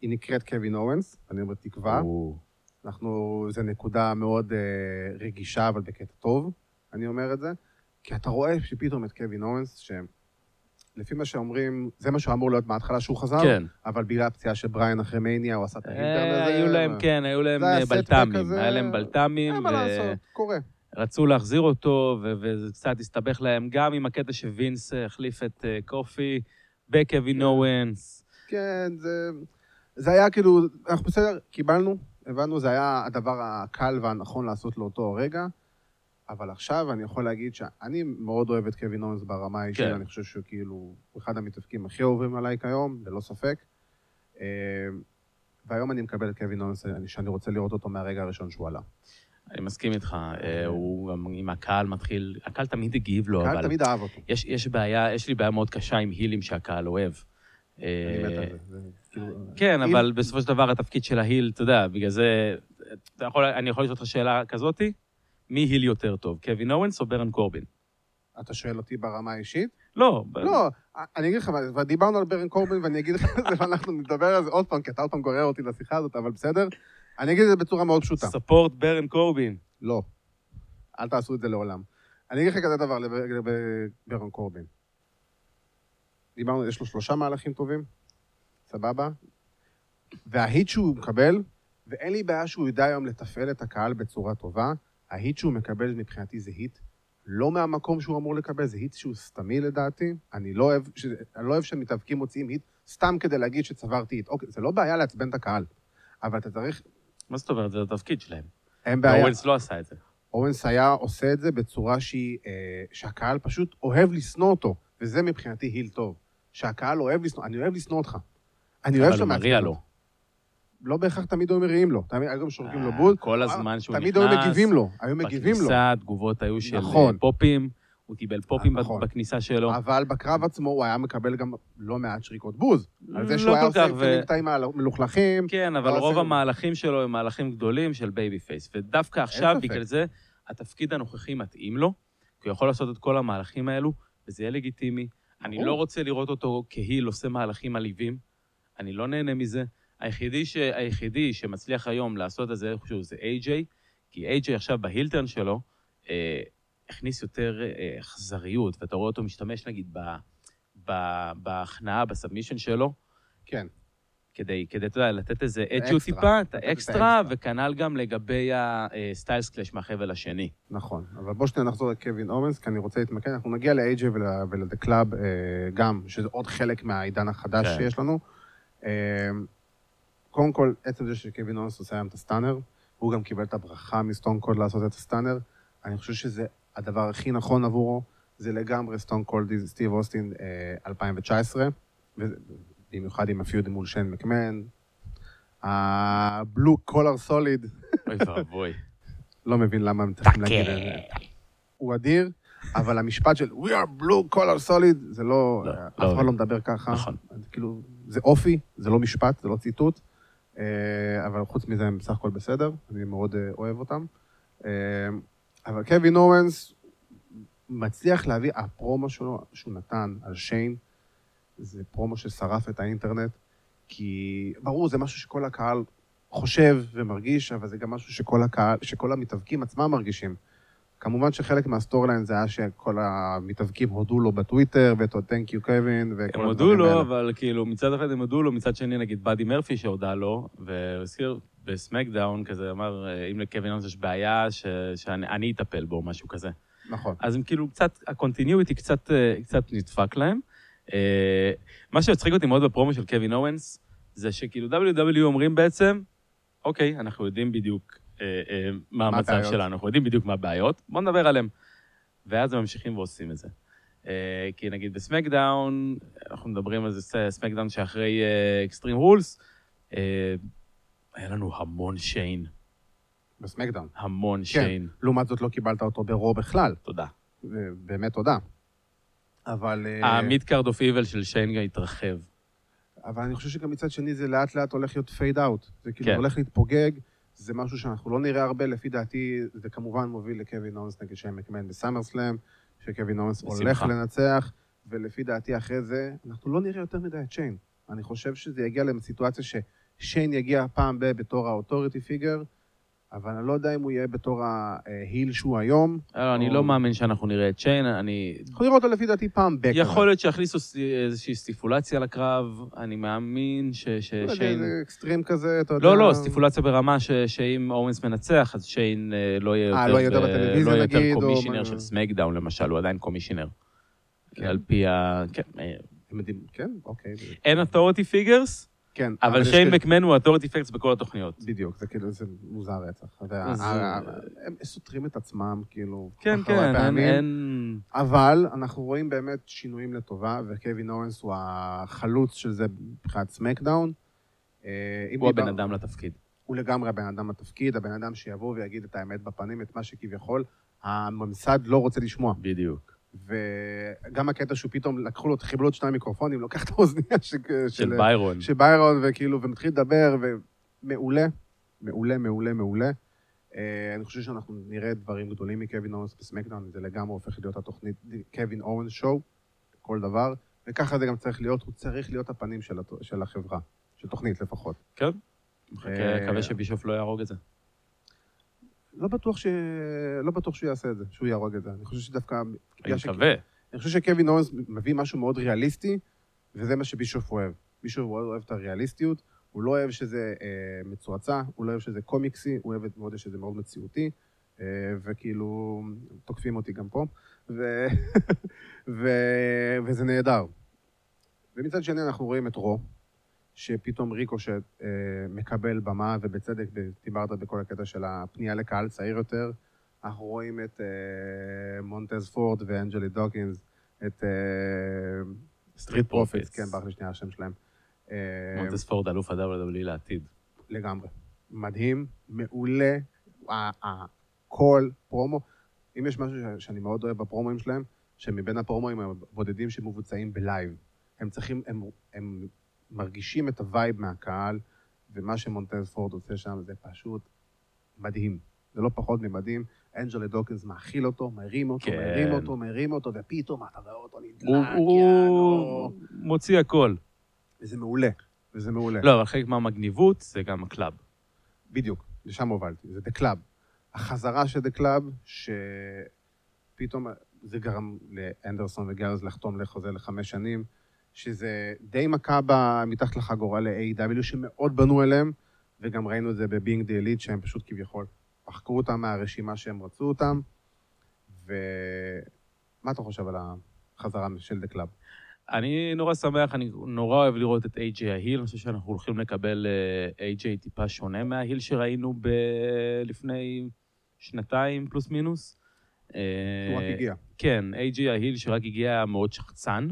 A: היא נקראת קווין אורנס, אני אומר תקווה.
B: או,
A: אנחנו, זו נקודה מאוד אה, רגישה, אבל בקטע טוב, אני אומר את זה. כי אתה רואה שפתאום את קווין אורנס, שלפי מה שאומרים, זה מה שהוא אמור להיות מההתחלה שהוא חזר,
B: כן.
A: אבל בגלל הפציעה של בריין אחרי מניה, הוא עשה את האינטרנט
B: אה,
A: הזה.
B: היו להם, כן, היו להם
A: זה היה
B: אה,
A: סטבק
B: בלת"מים,
A: כזה.
B: היה להם בלת"מים,
A: אין מה לעשות, קורה.
B: רצו להחזיר אותו, ו- וזה קצת הסתבך להם, גם עם הקטע שווינס אה, החליף את אה, קופי בקווין אורנס.
A: כן, זה... זה היה כאילו, אנחנו בסדר, קיבלנו, הבנו, זה היה הדבר הקל והנכון לעשות לאותו הרגע, אבל עכשיו אני יכול להגיד שאני מאוד אוהב את קווין אורנס ברמה האישית,
B: כן.
A: אני חושב שהוא כאילו אחד המתאבקים הכי אוהבים עליי כיום, ללא ספק. אה, והיום אני מקבל את קווין אורנס אני- שאני רוצה לראות אותו מהרגע הראשון שהוא עלה.
B: אני מסכים איתך, אה, הוא גם עם הקהל מתחיל, הקהל תמיד הגיב לו,
A: קהל
B: אבל
A: תמיד אהב אותו,
B: יש- יש בעיה, יש לי בעיה מאוד קשה עם הילים שהקהל אוהב.
A: אני מת
B: אה,
A: על זה. זה כאילו-
B: כן,
A: אם-
B: אבל בסופו של דבר התפקיד של ההיל, אתה יודע, בגלל זה... אתה יכול, אני יכול לשאול אותך שאלה כזאתי? מי היל יותר טוב, קווין אורנס או ברן קורבין?
A: אתה שואל אותי ברמה האישית?
B: לא,
A: לא, אני אגיד לך, אבל- אבל דיברנו על ברן קורבין, ואני אגיד לך את זה, *laughs* ואנחנו נדבר על זה עוד פעם, כי אתה עוד פעם גורר אותי לשיחה הזאת, אבל בסדר? אני אגיד את זה בצורה מאוד פשוטה.
B: ספורט ברן קורבין.
A: לא. אל תעשו את זה לעולם. אני אגיד לך כזה דבר לב- לגבי ברן קורבין. דיברנו, יש לו שלושה מהלכים טובים, סבבה? וההיט שהוא מקבל, ואין לי בעיה שהוא ידע היום לתפעל את הקהל בצורה טובה, ההיט שהוא מקבל מבחינתי זה היט לא מהמקום שהוא אמור לקבל, זה היט שהוא סתמי לדעתי. אני לא אוהב, ש... אני לא אוהב שמתאבקים מוציאים היט סתם כדי להגיד שצברתי היט. אוקיי, זה לא בעיה לעצבן את הקהל, אבל אתה צריך,
B: מה זאת אומרת? זה התפקיד שלהם.
A: אין בעיה.
B: ואורנס לא עשה את זה.
A: אורנס היה עושה את זה בצורה שהיא, אה, שהקהל פשוט אוהב לשנוא אותו, וזה מבחינתי היל טוב. שהקהל אוהב לשנוא, אני אוהב לשנוא אותך. אני אוהב
B: אבל
A: שאתה
B: הוא מריע
A: מעצבן
B: לו.
A: אותי. לא בהכרח תמיד היו מריעים לו. תמיד היו גם שורקים לו בוז.
B: אה, כל הזמן שהוא נכנס,
A: תמיד היו מגיבים לו, היו מגיבים לו.
B: בכניסה התגובות היו של
A: נכון.
B: אה, פופים, הוא קיבל פופים
A: אה, נכון.
B: בכניסה שלו.
A: אבל בקרב עצמו הוא היה מקבל גם לא מעט שריקות בוז. על זה שהוא
B: לא
A: היה
B: כל
A: עושה
B: כך, ו-
A: קטעים מלוכלכים.
B: כן,
A: לא
B: אבל רוב
A: עושה-
B: המהלכים שלו הם מהלכים גדולים של בייבי פייס. ודווקא עכשיו,
A: ספק.
B: בגלל זה, התפקיד הנוכחי מתאים לו, כי הוא יכול לעשות את כל המהלכים האלו, וזה יהיה לגיטימי. אני
A: ברור.
B: לא רוצה לראות אותו כהיל עושה מהלכים מעליבים, אני לא נהנה מזה. היחידי, ש... היחידי שמצליח היום לעשות את זה איכשהו זה איי-ג'יי, כי איי-ג'יי עכשיו בהילטרן שלו, אה, הכניס יותר אה, אכזריות, ואתה רואה אותו משתמש נגיד ב... ב... בהכנעה, בסאבמישן שלו,
A: כן,
B: כדי, כדי, אתה יודע, לתת איזה אג'יו
A: אקסטרה.
B: טיפה, את
A: לתת את
B: האקסטרה,
A: האקסטרה.
B: וכנ"ל גם לגבי הסטיילס קלאש מהחבל השני.
A: נכון. אבל בוא שניה נחזור לקווין אורנס, כי אני רוצה להתמקד. אנחנו נגיע לאייג'י ולדה קלאב אה, גם, שזה עוד חלק מהעידן החדש
B: כן.
A: שיש לנו. אה, קודם כל, עצם זה שקווין אורנס עושה היום את הסטאנר, הוא גם קיבל את הברכה מסטון קולד לעשות את הסטאנר. אני חושב שזה הדבר הכי נכון עבורו, זה לגמרי סטון קולד סטיב אוסטין אה, 2019. וזה- במיוחד עם הפיוד מול שיין מקמן, הבלו קולר סוליד,
B: *laughs* אוי ואבוי.
A: לא מבין למה הם צריכים להגיד את זה. הוא אדיר, אבל המשפט של We are blue collar solid, זה לא,
B: לא,
A: אף
B: לא.
A: אחד לא מדבר ככה.
B: נכון.
A: אז כאילו, זה אופי, זה לא משפט, זה לא ציטוט, אה, אבל חוץ מזה הם בסך הכל בסדר, אני מאוד אה, אוהב אותם. אה, אבל קווין אורנס מצליח להביא, הפרומו שלו שהוא נתן על שיין, זה פרומו ששרף את האינטרנט, כי ברור, זה משהו שכל הקהל חושב ומרגיש, אבל זה גם משהו שכל הקהל, שכל המתאבקים עצמם מרגישים. כמובן שחלק מהסטורי ליין זה היה שכל המתאבקים הודו לו בטוויטר, ואת עוד Thank you Kevin, וכל
B: הם הודו
A: הדברים האלה.
B: לו, אבל כאילו, מצד אחד הם הודו לו, מצד שני, נגיד, באדי מרפי שהודה לו, והוא הזכיר בסמקדאון כזה, אמר, "אה, אם לקווין אונס יש בעיה, ש- שאני אני אטפל בו, משהו כזה.
A: נכון.
B: אז הם כאילו קצת, הקונטיניויטי קצת, אה, קצת נדפק להם. אה, מה שהצחיק אותי מאוד בפרומו של קווין אורנס, זה שכאילו WW אומרים בעצם, אוקיי, אנחנו יודעים בדיוק אה, אה, מה
A: מה
B: המצב
A: הבעיות?"
B: שלנו, אנחנו יודעים בדיוק מה הבעיות, בואו נדבר עליהם. ואז הם ממשיכים ועושים את זה. אה, כי נגיד בסמקדאון, אנחנו מדברים על זה, ס- סמקדאון שאחרי אה, אקסטרים רולס, אה, היה לנו המון שיין,
A: בסמקדאון.
B: המון שיין.
A: לעומת זאת לא קיבלת אותו ברו בכלל,
B: תודה.
A: ובאמת תודה. אבל... אה,
B: המידקארד אוף איבל של שיין גם התרחב.
A: אבל אני חושב שגם מצד שני זה לאט לאט הולך להיות פייד אאוט. זה כאילו
B: כן.
A: הולך להתפוגג, זה משהו שאנחנו לא נראה הרבה, לפי דעתי זה כמובן מוביל לקווין אורנס נגד שיין מקמן בסאמר סלאם, שקווין אורנס
B: בשמחה.
A: הולך לנצח, ולפי דעתי אחרי זה, אנחנו לא נראה יותר מדי את שיין. אני חושב שזה יגיע לסיטואציה ששיין יגיע פעם ב- בתור האוטוריטי פיגר, אבל אני לא יודע אם הוא יהיה בתור ההיל שהוא היום.
B: לא, אני
A: או-
B: לא מאמין שאנחנו נראה את שיין, אני...
A: אנחנו נראה אותו לפי דעתי פעם ב...
B: יכול להיות שיכניסו ס- איזושהי סטיפולציה לקרב, אני מאמין ש- ששיין...
A: לא זה אקסטרים כזה, אתה יודע.
B: לא, לא, סטיפולציה ברמה ש- שאם אורנס מנצח, אז שיין אה, לא יהיה יותר...
A: אה, לא יהיה יותר
B: ב-
A: בטלוויזיה,
B: לא יהיה
A: נגיד,
B: יותר
A: או
B: קומישיונר
A: מה-
B: של סמקדאון, למשל, הוא עדיין קומישיונר.
A: כן.
B: על פי ה... כן, אה,
A: הם יודעים- כן, אוקיי.
B: אין אוטוריטי פיגרס,
A: כן.
B: אבל
A: יש
B: שיין
A: כאילו-
B: מקמן הוא אוטוריטי פיגרס בכל התוכניות.
A: בדיוק, זה כאילו, זה מוזר רצח. זה-
B: אז-
A: ה- ה- הם סותרים את עצמם, כאילו,
B: כן,
A: אחרי
B: כן, אין-
A: פעמים.
B: אין...
A: אבל אנחנו רואים באמת שינויים לטובה, וקווין אורנס הוא החלוץ של זה מבחינת סמקדאון. אה, אם
B: הוא
A: דיבר-
B: הבן אדם לתפקיד.
A: הוא לגמרי הבן אדם בתפקיד, הבן אדם שיבוא ויגיד את האמת בפנים, את מה שכביכול הממסד לא רוצה לשמוע.
B: בדיוק.
A: וגם הקטע שהוא פתאום, לקחו לו, חיבלו לו את שני המיקרופונים, לוקח את האוזנייה ש-
B: של ביירון.
A: של ביירון, וכאילו, ומתחיל לדבר, ומעולה, מעולה, מעולה, מעולה. אה, אני חושב שאנחנו נראה דברים גדולים מקווין אורנס בסמקדאון, זה לגמרי הופך להיות התוכנית קווין אורנס שואו, כל דבר, וככה זה גם צריך להיות, הוא צריך להיות הפנים של, הת... של החברה, של תוכנית לפחות.
B: כן. מחכה,
A: אה,
B: מקווה שבישוף לא יהרוג את זה.
A: לא בטוח, ש... לא בטוח שהוא יעשה את זה, שהוא יהרוג את זה. אני חושב שדווקא...
B: אני
A: שק-
B: מקווה.
A: אני חושב שקווין אורנס מביא משהו מאוד ריאליסטי, וזה מה שבישוף אוהב. בישוף מאוד אוהב את הריאליסטיות, הוא לא אוהב שזה אה, מצועצע, הוא לא אוהב שזה קומיקסי, הוא אוהב את- מאוד שזה מאוד מציאותי, אה, וכאילו, תוקפים אותי גם פה, ו... *laughs* ו... וזה נהדר. ומצד שני אנחנו רואים את רו, שפתאום ריקושט אה, מקבל במה, ובצדק, ב- דיברת בכל הקטע של הפנייה לקהל צעיר יותר. אנחנו רואים את אה, מונטז פורד ואנג'לי דוקינס, את
B: סטריט
A: פרופיטס,
B: פרופיטס.
A: כן, ברח לי שנייה השם שלהם. אה,
B: מונטס פורד, אלוף ה-WWE לעתיד.
A: לגמרי. מדהים, מעולה, ה- ה- כל פרומו. אם יש משהו ש- שאני מאוד אוהב בפרומואים שלהם, שמבין הפרומואים הם הבודדים שמבוצעים בלייב. הם צריכים, הם, הם מרגישים את הווייב מהקהל, ומה שמונטז פורד עושה שם זה פשוט מדהים. זה לא פחות ממדהים. אנג'לה דוקינס מאכיל אותו, מרים אותו,
B: כן.
A: מרים אותו, מרים אותו, ופתאום אתה רואה אותו נדלק,
B: הוא- הוא
A: יענו.
B: מוציא הכל.
A: וזה מעולה, וזה מעולה.
B: לא, אבל חלק מהמגניבות זה גם הקלאב.
A: בדיוק, לשם הובלתי, זה דה קלאב. החזרה של דה קלאב, שפתאום זה גרם לאנדרסון וגרז לחתום לחוזה לחמש שנים, שזה די מכה ב- מתחת לחגורה ל-AW, שמאוד בנו אליהם, וגם ראינו את זה ב-Being the Elite, שהם פשוט כביכול פחקו אותם מהרשימה שהם רצו אותם, ומה אתה חושב על החזרה של דה קלאב?
B: אני נורא שמח, אני נורא אוהב לראות את איי-ג'יי ההיל, אני חושב שאנחנו הולכים לקבל איי-ג'יי טיפה שונה מההיל שראינו ב... לפני שנתיים פלוס מינוס. אה,
A: הוא רק הגיע.
B: כן, איי-ג'יי ההיל שרק הגיע מאוד שחצן.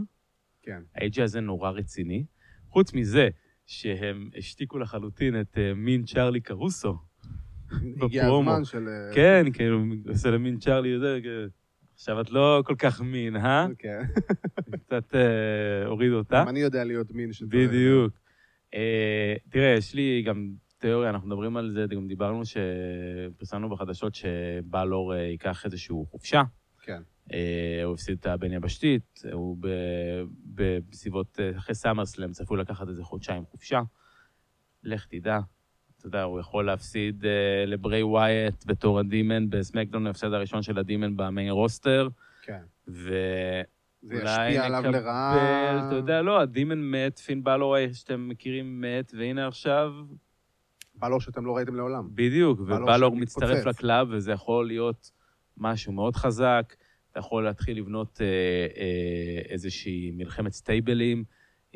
A: כן.
B: ה-AGI הזה נורא רציני. חוץ מזה שהם השתיקו לחלוטין את אה, מין צ'ארלי קרוסו.
A: הגיע
B: בפרומו.
A: הזמן של... אה,
B: כן, כאילו, עושה למין צ'ארלי, זה, כאילו, עכשיו את לא כל כך מין, אה?
A: כן.
B: קצת אה, הוריד אותה.
A: גם *laughs* אני יודע להיות מין של...
B: בדיוק. אה, תראה, יש לי גם תיאוריה, אנחנו מדברים על זה, גם דיברנו שפרסמנו בחדשות שבלור אה, ייקח איזשהו חופשה.
A: כן.
B: אה, הוא הפסיד את הבן יבשתית, הוא ב- ב- בסביבות, אה, אחרי סאמרסלאם צפוי לקחת איזה חודשיים חופשה. לך תדע. אתה יודע, הוא יכול להפסיד אה, לברי ווייט בתור הדימן בסמקדון, ההפסד הראשון של הדימן במיין רוסטר,
A: כן.
B: ו...
A: זה
B: אולי
A: ישפיע עליו
B: נקבל,
A: לרעה.
B: אתה יודע, לא, הדימן מת, פין בלור, שאתם מכירים, מת, והנה עכשיו,
A: בלור שאתם לא ראיתם לעולם.
B: בדיוק,
A: בלור
B: ובלור
A: שמתפוצץ.
B: מצטרף לקלאב, וזה יכול להיות משהו מאוד חזק. אתה יכול להתחיל לבנות אה, אה, איזושהי מלחמת סטייבלים,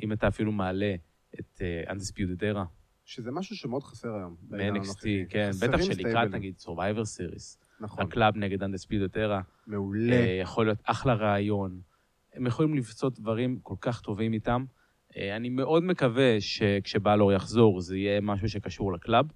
B: אם אתה אפילו מעלה את אה, Undisputed Era
A: שזה משהו שמאוד חסר היום. בעידן
B: ב-NXT,
A: הנוכחי.
B: כן,
A: חסרים
B: בטח שלקראת,
A: סטייבלים.
B: נגיד, Survivor Series,
A: נכון,
B: הקלאב נגד Undisputed Era,
A: מעולה.
B: אה, יכול להיות אחלה רעיון. הם יכולים לבצות דברים כל כך טובים איתם. אה, אני מאוד מקווה שכשבלור יחזור זה יהיה משהו שקשור לקלאב.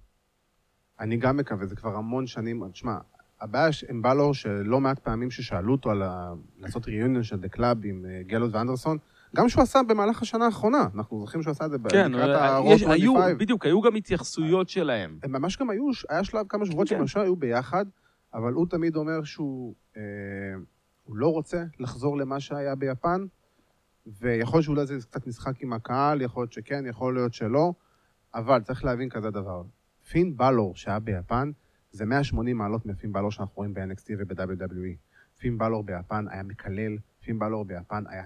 A: אני גם מקווה, זה כבר המון שנים. תשמע, הבעיה ש- עם בלור, שלא מעט פעמים ששאלו אותו על ה... לעשות ריאיון של דה קלאב עם אה, גלוט ואנדרסון, גם שהוא עשה במהלך השנה האחרונה. אנחנו זוכרים שהוא עשה את זה ב- לקראת ה-Raw
B: כן, אה, יש- היו,
A: 25.
B: בדיוק, היו גם התייחסויות שלהם.
A: הם ממש גם היו, היה שלב כמה שבועות
B: כן.
A: שהם ממש היו ביחד, אבל הוא תמיד אומר שהוא אה, הוא לא רוצה לחזור למה שהיה ביפן, ויכול להיות שאולי זה קצת משחק עם הקהל, יכול להיות שכן, יכול להיות שלא, אבל צריך להבין כזה דבר. פין בלור שהיה ביפן, זה 180 מעלות מפין בלור שאנחנו רואים ב-NXT וב-WWE. פין בלור ביפן היה מקלל, פין בלור ביפן היה,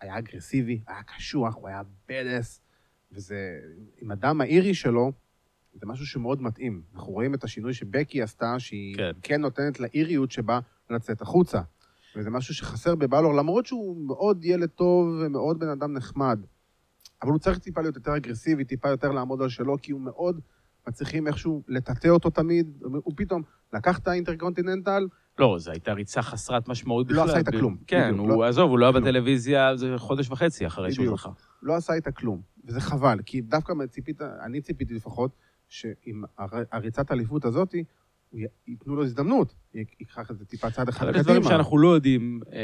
A: היה אגרסיבי, היה קשוח, הוא היה בדס, וזה, עם הדם האירי שלו, זה משהו שמאוד מתאים. אנחנו רואים את השינוי שבקי עשתה, שהיא
B: כן.
A: כן, כן נותנת לאיריות שבה לצאת החוצה. וזה משהו שחסר בבלור, למרות שהוא מאוד ילד טוב ומאוד בן אדם נחמד. אבל הוא צריך טיפה להיות יותר אגרסיבי, טיפה יותר לעמוד על שלו, כי הוא מאוד מצליחים איכשהו לטאטא אותו תמיד. הוא פתאום לקח את האינטרקונטיננטל,
B: לא, זו הייתה ריצה חסרת משמעות
A: לא
B: בכלל.
A: עשה איתה
B: ב-
A: כלום.
B: כן,
A: בדיוק,
B: הוא,
A: לא-
B: עזוב, הוא לא היה
A: כלום.
B: בטלוויזיה זה חודש וחצי אחרי שהוא
A: בדיוק.
B: זכה.
A: לא עשה איתה כלום, וזה חבל, כי דווקא ציפית, אני ציפיתי לפחות, שעם הר- הריצת האליפות הזאת, הוא י- ייתנו לו הזדמנות, י- ייקח את זה טיפה צעד אחד
B: אבל
A: קדימה.
B: יש דברים שאנחנו לא יודעים אה,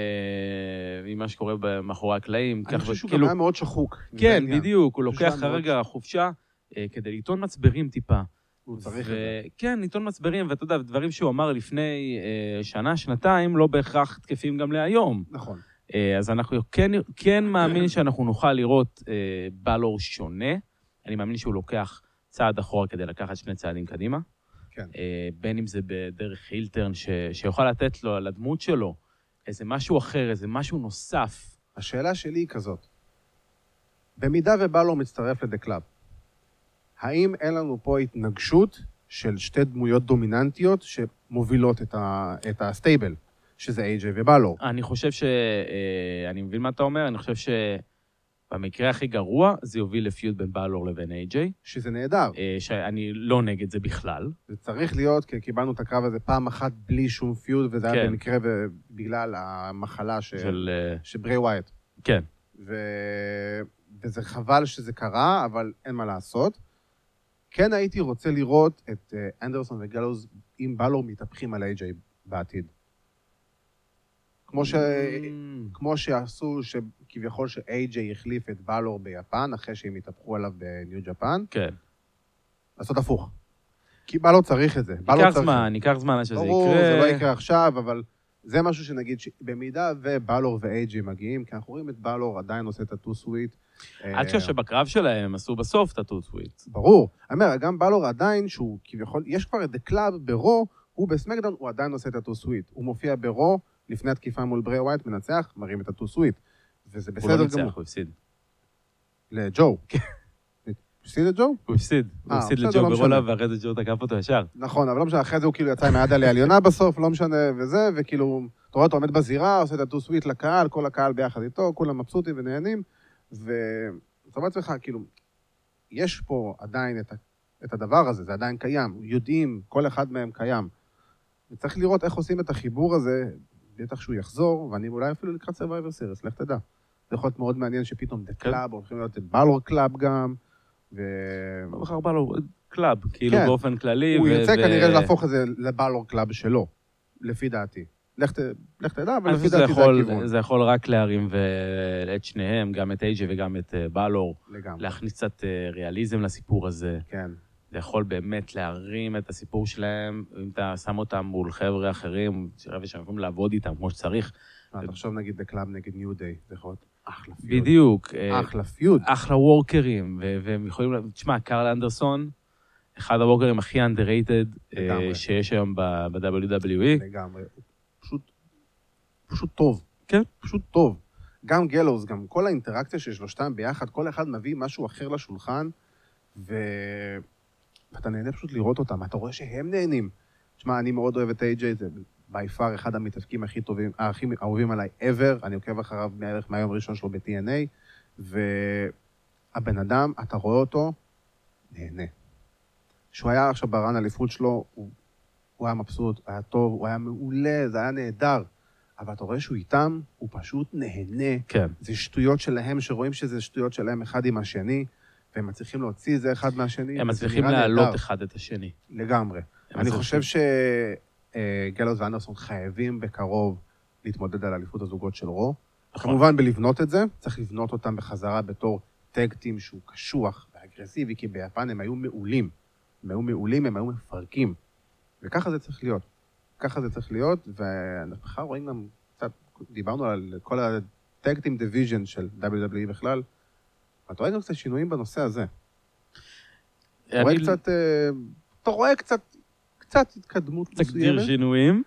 B: ממה שקורה מאחורי הקלעים.
A: אני
B: כך
A: חושב שהוא גם
B: כאילו-
A: היה מאוד שחוק. זה
B: כן,
A: העניין.
B: בדיוק, הוא
A: שהוא
B: לוקח
A: היה מאוד-
B: כרגע חופשה אה, כדי לטעון מצברים טיפה.
A: הוא צריך את
B: ו-
A: זה.
B: כן, עיתון מצברים, ואתה יודע, דברים שהוא אמר לפני אה, שנה, שנתיים, לא בהכרח תקפים גם להיום.
A: נכון.
B: אה, אז אנחנו כן, כן מאמין שאנחנו נוכל לראות אה, בלור שונה. אני מאמין שהוא לוקח צעד אחורה כדי לקחת שני צעדים קדימה.
A: כן.
B: אה, בין אם זה בדרך הילטרן, ש- שיוכל לתת לו, לדמות שלו, איזה משהו אחר, איזה משהו נוסף.
A: השאלה שלי היא כזאת, במידה ובלור מצטרף לדה קלאב, האם אין לנו פה התנגשות של שתי דמויות דומיננטיות שמובילות את, ה, את הסטייבל, שזה איי-ג'יי ובלור?
B: אני חושב ש... אה, אני מבין מה אתה אומר, אני חושב שבמקרה הכי גרוע, זה יוביל לפיוד בין בלור לבין איי-ג'יי,
A: שזה נהדר,
B: אה, שאני לא נגד זה בכלל.
A: זה צריך להיות, כי קיבלנו את הקרב הזה פעם אחת בלי שום פיוד, וזה היה
B: כן.
A: במקרה ו- בגלל המחלה ש... של...
B: של... אה,
A: שברי ווייט.
B: כן.
A: ו... וזה חבל שזה קרה, אבל אין מה לעשות. כן הייתי רוצה לראות את אה, אנדרסון וגלוז עם בלור מתהפכים על איי-ג'יי בעתיד. כמו, ש...
B: Mm,
A: כמו שעשו, שכביכול שאיי-ג'יי החליף את בלור ביפן, אחרי שהם התהפכו עליו בניו ג'פן,
B: כן.
A: לעשות הפוך. כי בלור צריך את זה. בלור
B: ייקח
A: צריך את
B: זמן, ייקח זמן עד שזה יקרה.
A: ברור, זה לא יקרה עכשיו, אבל זה משהו שנגיד, ש- במידה ובלור ואייג'י מגיעים, כי אנחנו רואים את בלור עדיין עושה את הטו סוויט. אה,
B: עד שבקרב שלהם עשו בסוף את הטוטוויט.
A: ברור. אני אומר, גם בלור עדיין, שהוא כביכול, יש כבר את דה קלאב ברו, הוא בסמקדאון, הוא עדיין עושה את הטו סוויט. הוא מופיע ברו, לפני התקיפה מול ברי ווייט, מנצח, מרים את הטו סוויט. וזה
B: הוא לא
A: בסדר
B: ניצח,
A: גמור.
B: הוא הפסיד.
A: לג'ו. *laughs* כן. הפסיד את ג'ו?
B: הוא הפסיד. הוא
A: אה,
B: הפסיד
A: בסדר,
B: לג'ו
A: לא משנה.
B: ברולה, ואחרי זה ג'ו תקף אותו ישר.
A: נכון, אבל לא משנה, אחרי זה הוא כאילו יצא עם היד על העליונה בסוף, לא משנה, וזה, וכאילו, אתה רואה אותו עומד בזירה, עושה את הטו סוויט לקהל, כל הקהל ביחד איתו, כולם מבסוטים ונהנים, ואתה אומר לעצמך, כאילו, יש פה עדיין את, ה- את הדבר הזה, זה עדיין קיים, יודעים, כל אחד מהם קיים. וצריך לראות איך עושים את החיבור הזה, בטח שהוא יחזור, ואני אולי אפילו לקראת Survivor Series, לך תדע. זה יכול להיות מאוד מעניין שפתאום דה
B: כן.
A: קלאב, הולכים להיות בלור קלאב גם, ו...
B: לא בכלל בא לו קלאב, כאילו
A: כן.
B: באופן כללי.
A: הוא
B: ו-
A: ירצה
B: ו-
A: כנראה להפוך את זה לבלור קלאב שלו, לפי דעתי. לך ת- לך תדע, אבל
B: אני
A: לפי
B: חושב שזה
A: דעתי זה
B: יכול-
A: הכיוון.
B: זה יכול רק להרים ו- את שניהם, גם את אייג'ה וגם את אה, בלור,
A: לגמרי,
B: להכניס קצת אה, ריאליזם לסיפור הזה.
A: כן.
B: זה יכול באמת להרים את הסיפור שלהם, אם אתה שם אותם מול חבר'ה אחרים, שרבע שהם יכולים לעבוד איתם כמו שצריך.
A: אה, תחשוב נגיד דה קלאב נגד ניו דיי, זה יכול להיות אחלה פיוד.
B: בדיוק. אה,
A: אחלה פיוד.
B: אחלה וורקרים, ו- והם יכולים... לה- תשמע, קרל אנדרסון, אחד הוורקרים הכי underrated אה,
A: לגמרי.
B: שיש היום ב- E. ב-WWE.
A: לגמרי. הוא פשוט, פשוט טוב.
B: כן.
A: פשוט טוב. גם גלוס, גם כל האינטראקציה של שלושתם ביחד, כל אחד מביא משהו אחר לשולחן, ו... ואתה נהנה פשוט לראות אותם, אתה רואה שהם נהנים. תשמע, אני מאוד אוהב את איי-ג'יי, זה by far אחד המתאבקים הכי טובים, אה, הכי אהובים עליי ever, אני עוקב אחריו בערך מהיום הראשון שלו ב-TNA, והבן אדם, אתה רואה אותו, נהנה. כשהוא היה עכשיו ברן אליפות שלו, הוא הוא היה מבסוט, היה טוב, הוא היה מעולה, זה היה נהדר. אבל אתה רואה שהוא איתם, הוא פשוט נהנה.
B: כן.
A: זה שטויות שלהם, שרואים שזה שטויות שלהם אחד עם השני, והם מצליחים להוציא את זה אחד מהשני.
B: הם
A: וזה
B: מצליחים
A: נראה
B: להעלות
A: נהדר.
B: אחד את השני.
A: לגמרי.
B: הם
A: אני
B: מצליחים.
A: חושב שגלוס ואנדרסון חייבים בקרוב להתמודד על אליפות הזוגות של רו.
B: נכון.
A: כמובן בלבנות את זה, צריך לבנות אותם בחזרה בתור טג טים שהוא קשוח ואגרסיבי, כי ביפן הם היו מעולים. הם היו מעולים, הם היו מפרקים. וככה זה צריך להיות. ככה זה צריך להיות, ואנחנו בכלל רואים גם קצת, דיברנו על כל הטג טים דיוויז'ן של WWE בכלל, ואתה רואה גם קצת שינויים בנושא הזה. אתה רואה
B: אני
A: קצת, אה, אתה רואה קצת, קצת התקדמות
B: תגדיר
A: מסוימת.
B: שינויים.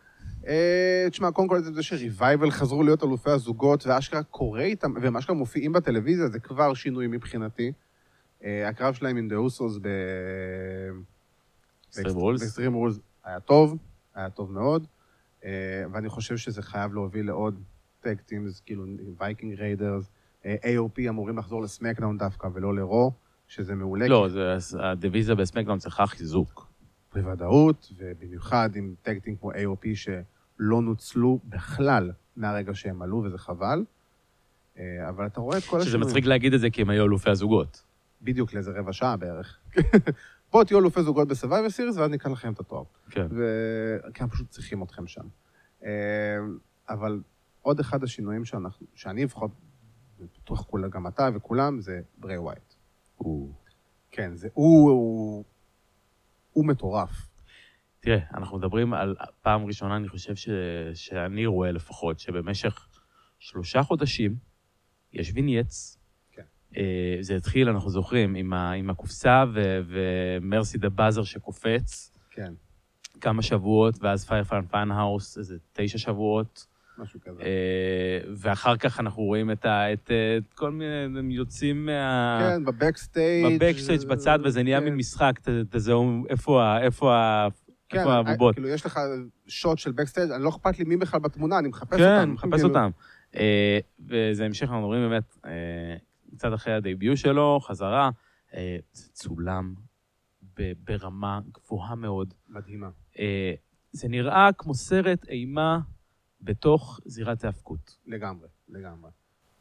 A: אה, תשמע, קודם כל זה- זה שריווייבל חזרו להיות אלופי הזוגות, ואשכרה קורה איתם, והם אשכרה מופיעים בטלוויזיה, זה כבר שינוי מבחינתי. אה, הקרב שלהם עם דה אוסוס ב...
B: Extreme Rules.
A: ב-Extreme Rules היה טוב, היה טוב מאוד, אה, ואני חושב שזה חייב להוביל לעוד טק טימס, כאילו וייקינג ריידרס, אה, AOP אמורים לחזור לסמקדאון דווקא, ולא לרו, שזה מעולה.
B: לא, זה- הדיוויזיה בסמקדאון צריכה חיזוק.
A: בוודאות, ובמיוחד עם טקטים כמו AOP שלא נוצלו בכלל מהרגע שהם עלו, וזה חבל. אה, אבל אתה רואה את כל
B: שזה מצחיק להגיד את זה כי הם היו אלופי הזוגות.
A: בדיוק לאיזה רבע שעה בערך. *laughs* בואו תהיו אלופי זוגות בסרווייבר סיריס, ואז ניקח לכם את התואר.
B: כן.
A: ו- כי אנחנו פשוט צריכים אתכם שם. אה, אבל עוד אחד השינויים שאנחנו, שאני לפחות, בטוח כולה, גם אתה וכולם, זה ברי ווייט. כן, זה, הוא, הוא, הוא מטורף.
B: תראה, אנחנו מדברים על פעם ראשונה, אני חושב ש... שאני רואה לפחות, שבמשך שלושה חודשים יש וינייץ.
A: כן.
B: אה, זה התחיל, אנחנו זוכרים, עם, ה... עם הקופסה ו... ומרסי דה באזר שקופץ
A: כן,
B: כמה שבועות, ואז פיירפיין פיינהאוס, איזה תשע שבועות.
A: משהו כזה.
B: אה, ואחר כך אנחנו רואים את, ה... את... אה, את כל מיני, הם יוצאים מה...
A: כן, בבקסטייג'.
B: אה. בבקסטייג' בצד, וזה נהיה
A: כן.
B: מין משחק, ת- תזהו איפה ה- איפה ה-
A: כן,
B: איפה הבובות.
A: כאילו, יש לך שוט של בקסטייג', אני לא אכפת לי מי בכלל בתמונה, אני מחפש אותם.
B: כן, מחפש
A: כאילו,
B: אותם. אה, וזה המשך, אנחנו רואים באמת, אה, קצת אחרי הדייביוט שלו, חזרה, אה, זה צולם ב- ברמה גבוהה מאוד.
A: מדהימה.
B: אה, זה נראה כמו סרט אימה בתוך זירת האבקות.
A: לגמרי, לגמרי.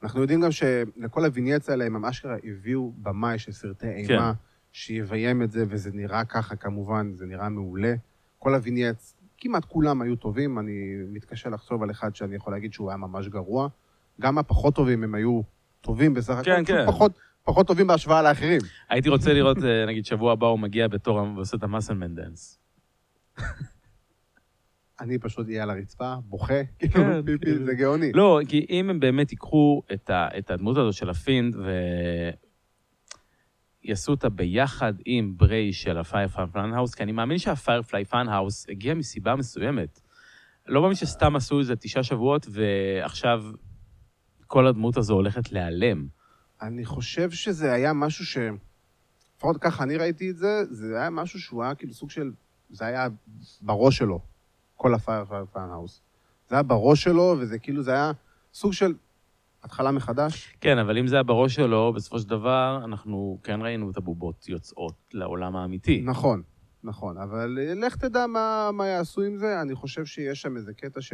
A: אנחנו יודעים גם שלכל הווינייץ האלה, הם ממש אשכרה הביאו במאי של סרטי אימה,
B: כן.
A: שיביים את זה, וזה נראה ככה כמובן, זה נראה מעולה. כל הווינייץ, כמעט כולם היו טובים, אני מתקשה לחשוב על אחד שאני יכול להגיד שהוא היה ממש גרוע. גם הפחות טובים הם היו טובים בסך הכל,
B: כן,
A: פשוט
B: כן.
A: פחות, פחות טובים בהשוואה לאחרים.
B: הייתי רוצה לראות, אה, נגיד, שבוע הבא הוא מגיע בתור ה- ועושה את המאסלמן דאנס.
A: אני פשוט אהיה על הרצפה, בוכה,
B: כן,
A: כאילו,
B: כאילו.
A: פיפי, זה גאוני.
B: לא, כי אם הם באמת ייקחו את, ה, את הדמות הזו של הפינד ויעשו אותה ביחד עם בריי של הפיירפליי פאנהאוס, כי אני מאמין שהפיירפליי פאנהאוס הגיע מסיבה מסוימת. לא מאמין שסתם עשו איזה תשעה שבועות, ועכשיו כל הדמות הזו הולכת להיעלם.
A: אני חושב שזה היה משהו ש... לפחות ככה אני ראיתי את זה, זה היה משהו שהוא היה כאילו סוג של... זה היה בראש שלו, כל הפיירפייר האוס. זה היה בראש שלו, וזה כאילו, זה היה סוג של התחלה מחדש.
B: כן, אבל אם זה היה בראש שלו, בסופו של דבר, אנחנו כן ראינו את הבובות יוצאות לעולם האמיתי.
A: נכון, נכון, אבל לך תדע מה, מה יעשו עם זה, אני חושב שיש שם איזה קטע ש...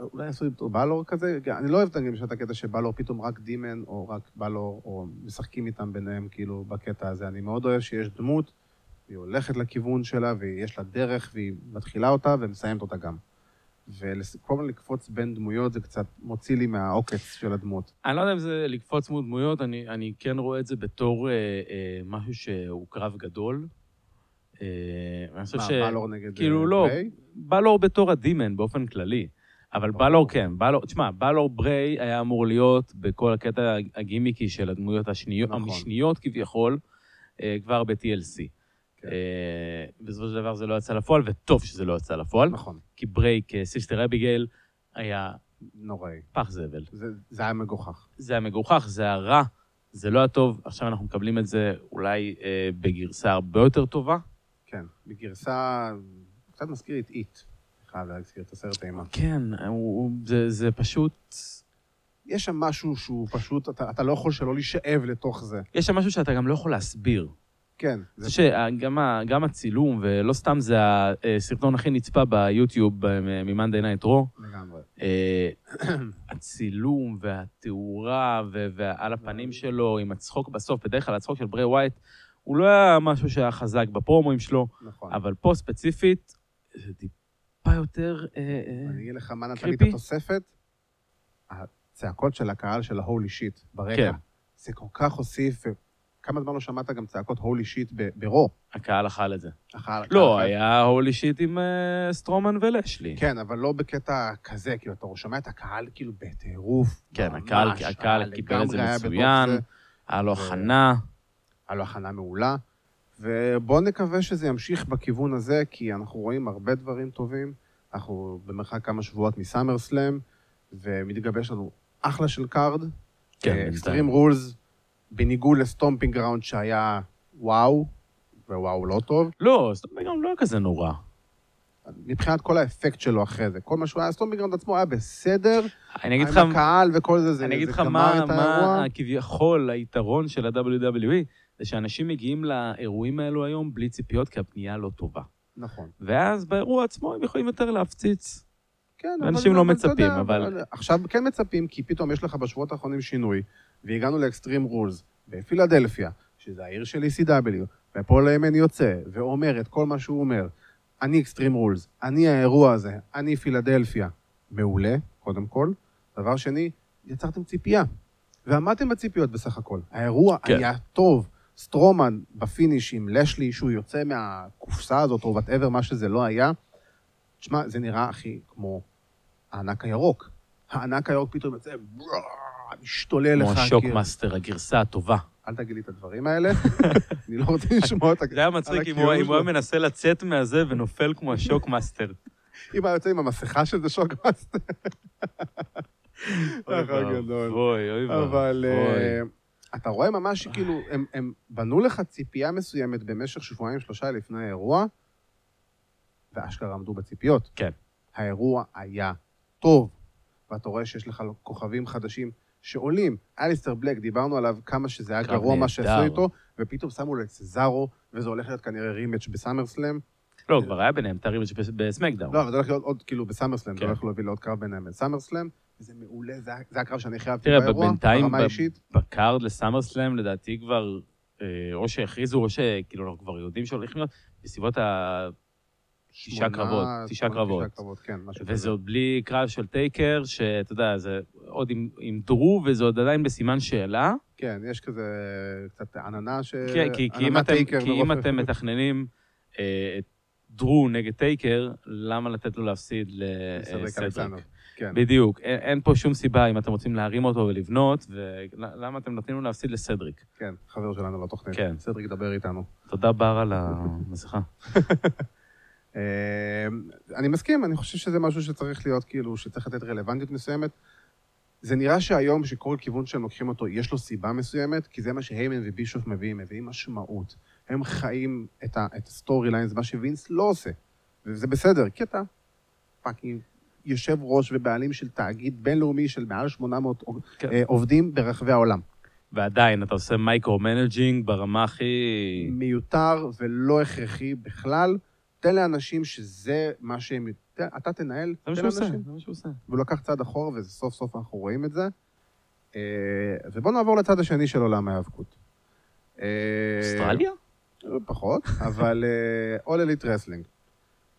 A: אולי עשו אותו בלור כזה, גם- אני לא אוהב את הגישה, את הקטע שבלור פתאום רק דימן, או רק בלור, או משחקים איתם ביניהם, כאילו, בקטע הזה. אני מאוד אוהב שיש דמות, והיא הולכת לכיוון שלה, ויש לה דרך, והיא מתחילה אותה ומסיימת אותה גם. וכל הזמן לקפוץ בין דמויות זה קצת מוציא לי מהעוקץ של הדמות.
B: אני לא יודע אם זה לקפוץ מול דמויות, אני, אני כן רואה את זה בתור אה, אה, משהו שהוא קרב גדול. אה, אני חושב
A: מה,
B: ש...
A: בלור נגד...
B: כאילו
A: אה,
B: לא.
A: בריי?
B: בלור בתור הדימן באופן כללי, אבל
A: ברור.
B: בלור כן, בלור, תשמע, בלור בריי היה אמור להיות בכל הקטע הגימיקי של הדמויות השניות,
A: נכון.
B: המשניות כביכול, אה, כבר ב-TLC.
A: כן.
B: אה, בסופו של דבר זה לא יצא לפועל, וטוב שזה לא יצא לפועל,
A: נכון,
B: כי בריי כסיסטר אביגייל היה
A: נוראי.
B: פח זבל.
A: זה, זה היה מגוחך.
B: זה המגוחך, זה הרע, זה לא הטוב, עכשיו אנחנו מקבלים את זה אולי אה, בגרסה הרבה יותר טובה.
A: כן. בגרסה... קצת מזכיר את איט. חייב להזכיר את הסרט האימה.
B: כן, הוא, הוא, זה, זה פשוט...
A: יש שם משהו שהוא פשוט, אתה, אתה לא יכול שלא להישאב לתוך זה.
B: יש שם משהו שאתה גם לא יכול להסביר.
A: כן. זה,
B: זה שגם ה- גם הצילום, ולא סתם זה הסרטון הכי נצפה ביוטיוב אה, מ-Monday Night Raw,
A: לגמרי.
B: אה, הצילום והתאורה ו- ועל הפנים שלו עם הצחוק בסוף, בדרך כלל הצחוק של ברי ווייט, הוא לא היה משהו שהיה חזק בפרומואים שלו,
A: נכון.
B: אבל פה ספציפית, זה טיפה יותר... אה, אה,
A: אני אגיד לך מה נתן לי את
B: קריפי.
A: התוספת. הצעקות של הקהל של ההולי שיט ברקע.
B: כן.
A: זה כל כך הוסיף, וכמה זמן לא שמעת גם צעקות הולי שיט ב- ברו.
B: הקהל אכל את זה.
A: אחר-
B: לא,
A: אחר-
B: היה הולי שיט עם אה, סטרומן ולשלי.
A: אוקיי. כן, אבל לא בקטע כזה, כאילו, אתה שומע את הקהל כאילו בטירוף.
B: כן,
A: ממש,
B: הקהל- הקהל
A: היה
B: קיבל את זה
A: לגמרי היה בתוך
B: מצוין.
A: זה.
B: היה לו
A: זה-
B: הכנה.
A: היה לו הכנה מעולה, ובואו נקווה שזה ימשיך בכיוון הזה, כי אנחנו רואים הרבה דברים טובים. אנחנו במרחק כמה שבועות מסאמר סלאם, ומתגבש לנו אחלה של קארד.
B: כן,
A: אקסטרים רולס, בניגוד לסטומפינג ראונד שהיה וואו, ווואו לא טוב.
B: לא, סטרומן גם לא היה כזה נורא.
A: מבחינת כל האפקט שלו אחרי זה, כל מה שהוא היה, סטומפינג ראונד עצמו היה בסדר,
B: אני אגיד לך...
A: עם הקהל וכל זה, זה
B: אני אגיד
A: זה
B: לך
A: גמר
B: מה,
A: את האירוע.
B: מה כביכול היתרון של ה-WWE, זה שאנשים מגיעים לאירועים האלו היום בלי ציפיות, כי הפנייה לא טובה.
A: נכון.
B: ואז באירוע עצמו הם יכולים יותר להפציץ.
A: כן,
B: אנשים לא
A: אבל אתה
B: מצפים,
A: יודע,
B: אבל-
A: עכשיו כן מצפים, כי פתאום יש לך בשבועות האחרונים שינוי, והגענו לאקסטרים רולס בפילדלפיה, שזה העיר של ECW, ופה לימן יוצא, ואומר את כל מה שהוא אומר. אני אקסטרים רולס, אני האירוע הזה, אני פילדלפיה. מעולה, קודם כל. דבר שני, יצרתם ציפייה. ועמדתם בציפיות בסך הכל. האירוע
B: כן.
A: כן. היה טוב. סטרומן בפיניש עם לשלי, שהוא יוצא מהקופסה הזאת, או וואטאבר, מה שזה לא היה. תשמע, זה נראה, אחי, כמו הענק הירוק. הענק הירוק פתאום יוצא, בואו, משתולל לך.
B: כמו שוק
A: כאילו.
B: מאסטר, הגרסה הטובה.
A: אל תגיד לי את הדברים
B: *laughs*
A: האלה, אני לא רוצה לשמוע אותה.
B: זה היה מצחיק אם הוא
A: הכיוון
B: אם הוא היה
A: שלו.
B: מנסה לצאת מהזה ונופל כמו השוק מאסטר.
A: אם היה יוצא עם המסכה של זה שוק מאסטר. *laughs*
B: אוי
A: אחר נכון, גדול.
B: ואבוי, אוי ואבוי.
A: אבל אה, אתה רואה ממש שכאילו, הם, הם בנו לך ציפייה מסוימת במשך שבועיים, שלושה לפני האירוע, ואשכרה עמדו בציפיות.
B: כן.
A: האירוע היה טוב, ואתה רואה שיש לך כוכבים חדשים שעולים. אליסטר בלק, דיברנו עליו כמה שזה היה
B: קרב
A: גרוע מה שעשו
B: נהדר.
A: איתו, ופתאום שמו לו את סזארו, וזה הולך להיות כנראה רימץ' בסאמרסלאם.
B: לא, כבר היה ביניהם תארים בסמקדאון.
A: לא, אבל זה הולך להיות עוד, כאילו, בסאמרסלאם, זה
B: כן.
A: הולך להוביל לעוד קרב ביניהם בסאמרסלאם. זה מעולה, זה ה- זה הקרב שאני הכי אהבתי
B: תראה,
A: באירוע,
B: בינתיים,
A: ברמה
B: ב-
A: האישית.
B: בקארד לסאמרסלאם, לדעתי כבר, אה, או שהכריזו, או שכאילו אנחנו כבר יודעים שהולכים להיות, בסביבות ה... תשעה
A: שמונה-
B: קרבות, תשעה
A: שמונה,
B: קרבות.
A: כן, משהו כזה.
B: וזה עוד בלי קרב של טייקר, שאתה יודע, זה עוד עם- עם דרו, וזה עוד עדיין בסימן שאלה.
A: כן, יש כזה קצת עננה ש...
B: כן, כי- כי אם
A: עננה
B: אתם-
A: טייקר
B: כי אם
A: מרוב-
B: אתם מתכננים אה, את דרו נגד טייקר, למה לתת לו להפסיד
A: מסדריק
B: לסדרק?
A: אלכסנדר. כן,
B: בדיוק, אין, אין פה שום סיבה אם אתם רוצים להרים אותו ולבנות, ולמה אתם נותנים לו להפסיד לסדריק?
A: כן, חבר שלנו לתוכנית.
B: כן.
A: סדריק דבר איתנו.
B: תודה בר על המסכה.
A: אה, אני מסכים, אני חושב שזה משהו שצריך להיות, כאילו, שצריך לתת רלוונטיות מסוימת. זה נראה שהיום, שכל כיוון שהם לוקחים אותו, יש לו סיבה מסוימת, כי זה מה שהיימן ובישוף מביאים, מביאים משמעות. הם חיים את ה- את הסטורי ליינס, מה שווינס לא עושה. וזה בסדר, כי אתה פאקינג יושב ראש ובעלים של תאגיד בינלאומי של מעל 800 עוב-
B: כן.
A: אה, עובדים ברחבי העולם.
B: ועדיין, אתה עושה כן. מייקרו-מנג'ינג ברמה הכי...
A: מיותר ולא הכרחי בכלל. תן לאנשים שזה מה שהם... תן- אתה תנהל,
B: זה
A: תן
B: מה שהוא עושה,
A: לאנשים.
B: זה מה שהוא עושה.
A: והוא לקח צעד אחורה, וסוף סוף אנחנו רואים את זה. אה, ובואו נעבור לצד השני של עולם ההיאבקות. אה,
B: אוסטרליה?
A: פחות, אבל אה, אול אליט רסלינג.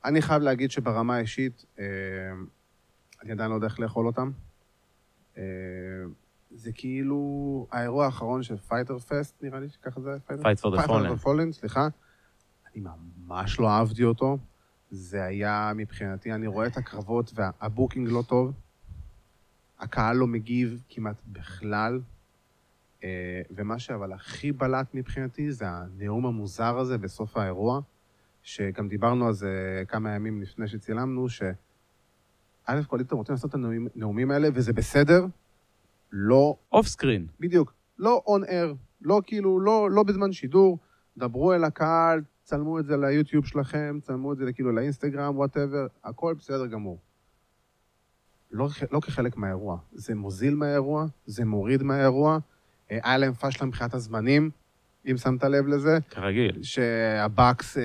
A: אני חייב להגיד שברמה האישית, אה, אני עדיין לא יודע איך לאכול אותם. אה, זה כאילו האירוע האחרון של פייטר פסט, נראה לי שככה זה פייטר
B: Fight for the
A: פייטר
B: Fallen.
A: פולן, סליחה. אני ממש לא אהבתי אותו. זה היה מבחינתי, אני רואה את הקרבות והבוקינג לא טוב. הקהל לא מגיב כמעט בכלל. אה, ומה שאבל הכי בלט מבחינתי זה הנאום המוזר הזה בסוף האירוע, שגם דיברנו על זה כמה ימים לפני שצילמנו, ש... א' כל אתם רוצים לעשות את הנאומים הנאומים האלה, וזה בסדר, לא
B: אוף סקרין.
A: בדיוק. לא און אייר, לא כאילו, לא, לא בזמן שידור, דברו אל הקהל, צלמו את זה ליוטיוב שלכם, צלמו את זה כאילו לאינסטגרם, וואטאבר, הכל בסדר גמור. לא, כ- לא כחלק מהאירוע. זה מוזיל מהאירוע, זה מוריד מהאירוע. אה, היה להם פשלה מבחינת הזמנים, אם שמת לב לזה,
B: כרגיל.
A: שהבאקס אה,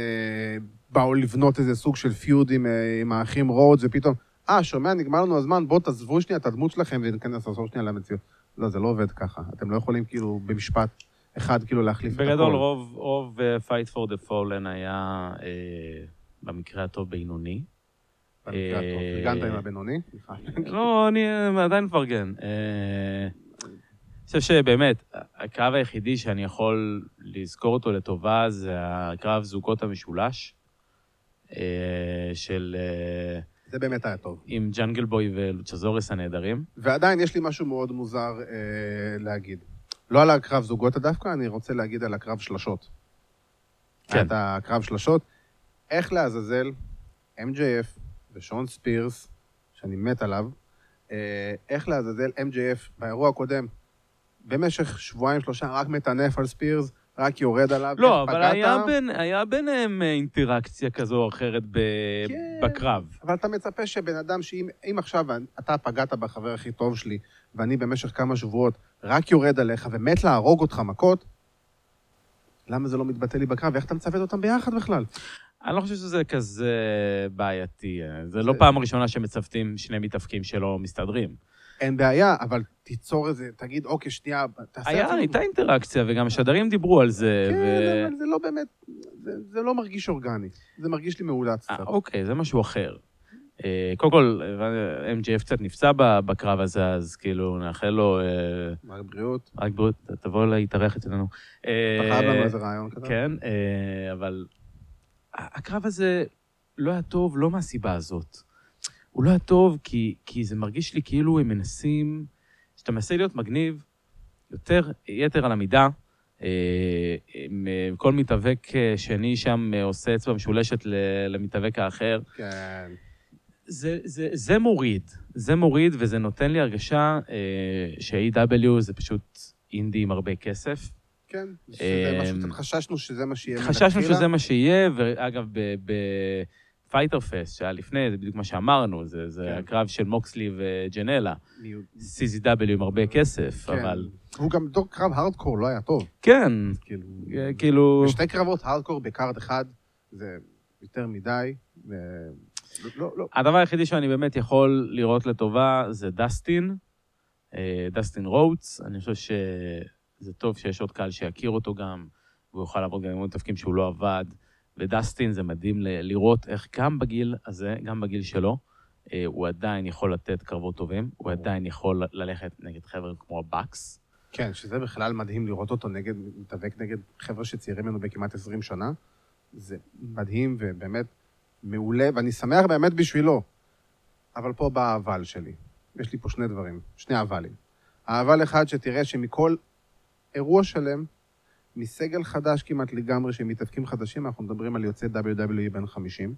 A: באו לבנות איזה סוג של פיוד עם, אה, עם האחים רודס, ופתאום, אה, שומע, נגמר לנו הזמן, בואו תעזבו שנייה את הדמות שלכם וניכנס לעשות שנייה למציאות. לא, זה לא עובד ככה. אתם לא יכולים כאילו במשפט אחד כאילו להחליף את הכל.
B: בגדול, רוב- רוב אה, Fight for the Fallen היה אה, במקרה הטוב בינוני.
A: במקרה הטוב.
B: אה,
A: הגנת עם הבינוני? סליחה.
B: לא, אני אה, עדיין מפרגן. אה, אני חושב שבאמת, הקרב היחידי שאני יכול לזכור אותו לטובה זה הקרב זוגות המשולש, אה, של... אה,
A: זה באמת היה טוב.
B: עם ג'אנגל בוי ולוצ'זוריס הנהדרים.
A: ועדיין יש לי משהו מאוד מוזר אה, להגיד. לא על הקרב זוגות דווקא, אני רוצה להגיד על הקרב שלשות.
B: כן.
A: היה את הקרב שלשות. איך לעזאזל, MJF ושון ספירס, שאני מת עליו, אה, איך לעזאזל MJF באירוע הקודם, במשך שבועיים שלושה רק מטנף על ספירס, רק יורד עליו,
B: לא,
A: איך
B: אבל
A: פגעת?
B: היה בין- היה ביניהם אה, אינטראקציה כזו או אחרת ב-
A: כן.
B: בקרב.
A: אבל אתה מצפה שבן אדם שאם אם עכשיו אני- אתה פגעת בחבר הכי טוב שלי, ואני במשך כמה שבועות רק יורד עליך ומת להרוג אותך מכות, למה זה לא מתבטא לי בקרב? ואיך אתה מצוות אותם ביחד בכלל?
B: אני לא חושב שזה כזה בעייתי. אה, זה לא
A: זה-
B: פעם ראשונה שמצוותים שני מתאפקים שלא מסתדרים.
A: אין בעיה, אבל תיצור איזה, תגיד, אוקיי, שנייה, תעשה...
B: היה,
A: אפילו-
B: הייתה אינטראקציה, וגם השדרים דיברו על זה.
A: כן,
B: ו- אה,
A: אבל זה לא באמת, זה, זה לא מרגיש אורגני. זה מרגיש לי מאולץ
B: אה,
A: קצת.
B: אוקיי, זה משהו אחר. אה, קודם כל, אה, MJF קצת נפצע ב- בקרב הזה, אז כאילו, נאחל לו... אה,
A: רק בריאות.
B: רק בריאות, תבוא להתארח אצלנו. אה,
A: אתה חייב לנו איזה רעיון כזה?
B: כן, אה, אבל ה- הקרב הזה לא היה טוב לא מהסיבה הזאת. הוא לא היה טוב כי, כי זה מרגיש לי כאילו הם מנסים, כשאתה מנסה להיות מגניב, יותר, יתר על המידה. אה, הם, אה, כל מתאבק אה, שני שם אה, עושה אצבע משולשת ל- למתאבק האחר.
A: כן.
B: זה, זה, זה מוריד, זה מוריד וזה נותן לי הרגשה אה, ש-AW זה פשוט אינדי עם הרבה כסף.
A: כן. שזה
B: אה,
A: משהו, קצת חששנו שזה מה שיהיה
B: חששנו שזה מה שיהיה, ואגב, בפייטר פסט, שהיה לפני, זה בדיוק מה שאמרנו, זה, זה
A: כן.
B: הקרב של מוקסלי וג'נלה,
A: מיעוט.
B: CZW עם הרבה כסף,
A: כן.
B: אבל...
A: הוא גם דור קרב הארדקור לא היה טוב.
B: כן,
A: כאילו...
B: אה, כאילו...
A: שתי קרבות הארדקור בקארד אחד, זה יותר מדי. ו... לא, לא.
B: הדבר היחידי שאני באמת יכול לראות לטובה זה דסטין, אה, דסטין רוטס. אני חושב שזה טוב שיש עוד קהל שיכיר אותו גם, והוא יוכל לעבוד גם עם עוד תפקידים שהוא לא עבד. ודסטין, זה מדהים ל- לראות איך גם בגיל הזה, גם בגיל שלו, אה, הוא עדיין יכול לתת קרבות טובים, הוא עדיין יכול ל- ללכת נגד חבר'ה כמו הבקס.
A: כן, שזה בכלל מדהים לראות אותו נגד, מתאבק נגד חבר'ה שצעירים ממנו בכמעט 20 שנה. זה מדהים ובאמת מעולה, ואני שמח באמת בשבילו. אבל פה בא האבל שלי. יש לי פה שני דברים, שני אבלים. האבל אחד שתראה שמכל אירוע שלם, מסגל חדש כמעט לגמרי, של מתאבקים חדשים, אנחנו מדברים על יוצא WWE בן 50.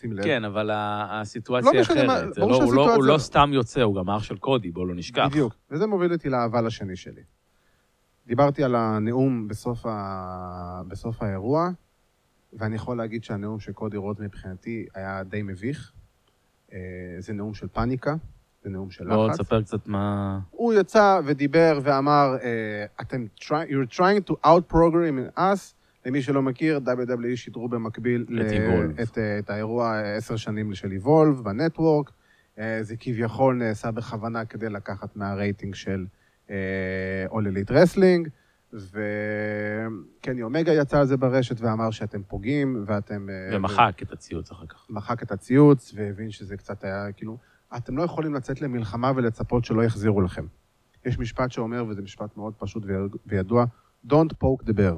A: שים לב.
B: כן, אבל ה- הסיטואציה
A: לא
B: היא
A: משנה מה-
B: אחרת. זה
A: ברור
B: לא- הוא לא- הוא
A: שהסיטואציה-
B: לא סתם יוצא, הוא גם אח של קודי, בואו לא נשכח.
A: בדיוק, וזה מוביל אותי לאבל השני שלי. דיברתי על הנאום בסוף, ה... בסוף האירוע, ואני יכול להגיד שהנאום של קודי רוד מבחינתי היה די מביך. אה, זה נאום של פאניקה, זה נאום של
B: בואו
A: לחץ.
B: תספר קצת מה...
A: הוא יצא ודיבר ואמר, אה, אתם, try- you're trying to out-program us, למי שלא מכיר, WWE שידרו במקביל ל-
B: Evolve.
A: את, אה, את האירוע אה, עשר שנים של Evolve בנטוורק. אה, זה כביכול נעשה בכוונה כדי לקחת מהרייטינג של אה, All Elite Wrestling, וקני אומגה יצא על זה ברשת ואמר שאתם פוגעים, ואתם... אה,
B: ומחק את הציוץ אחר כך.
A: מחק את הציוץ והבין שזה קצת היה כאילו, אתם לא יכולים לצאת למלחמה ולצפות שלא יחזירו לכם. יש משפט שאומר, וזה משפט מאוד פשוט ויד- וידוע, Don't poke the bear.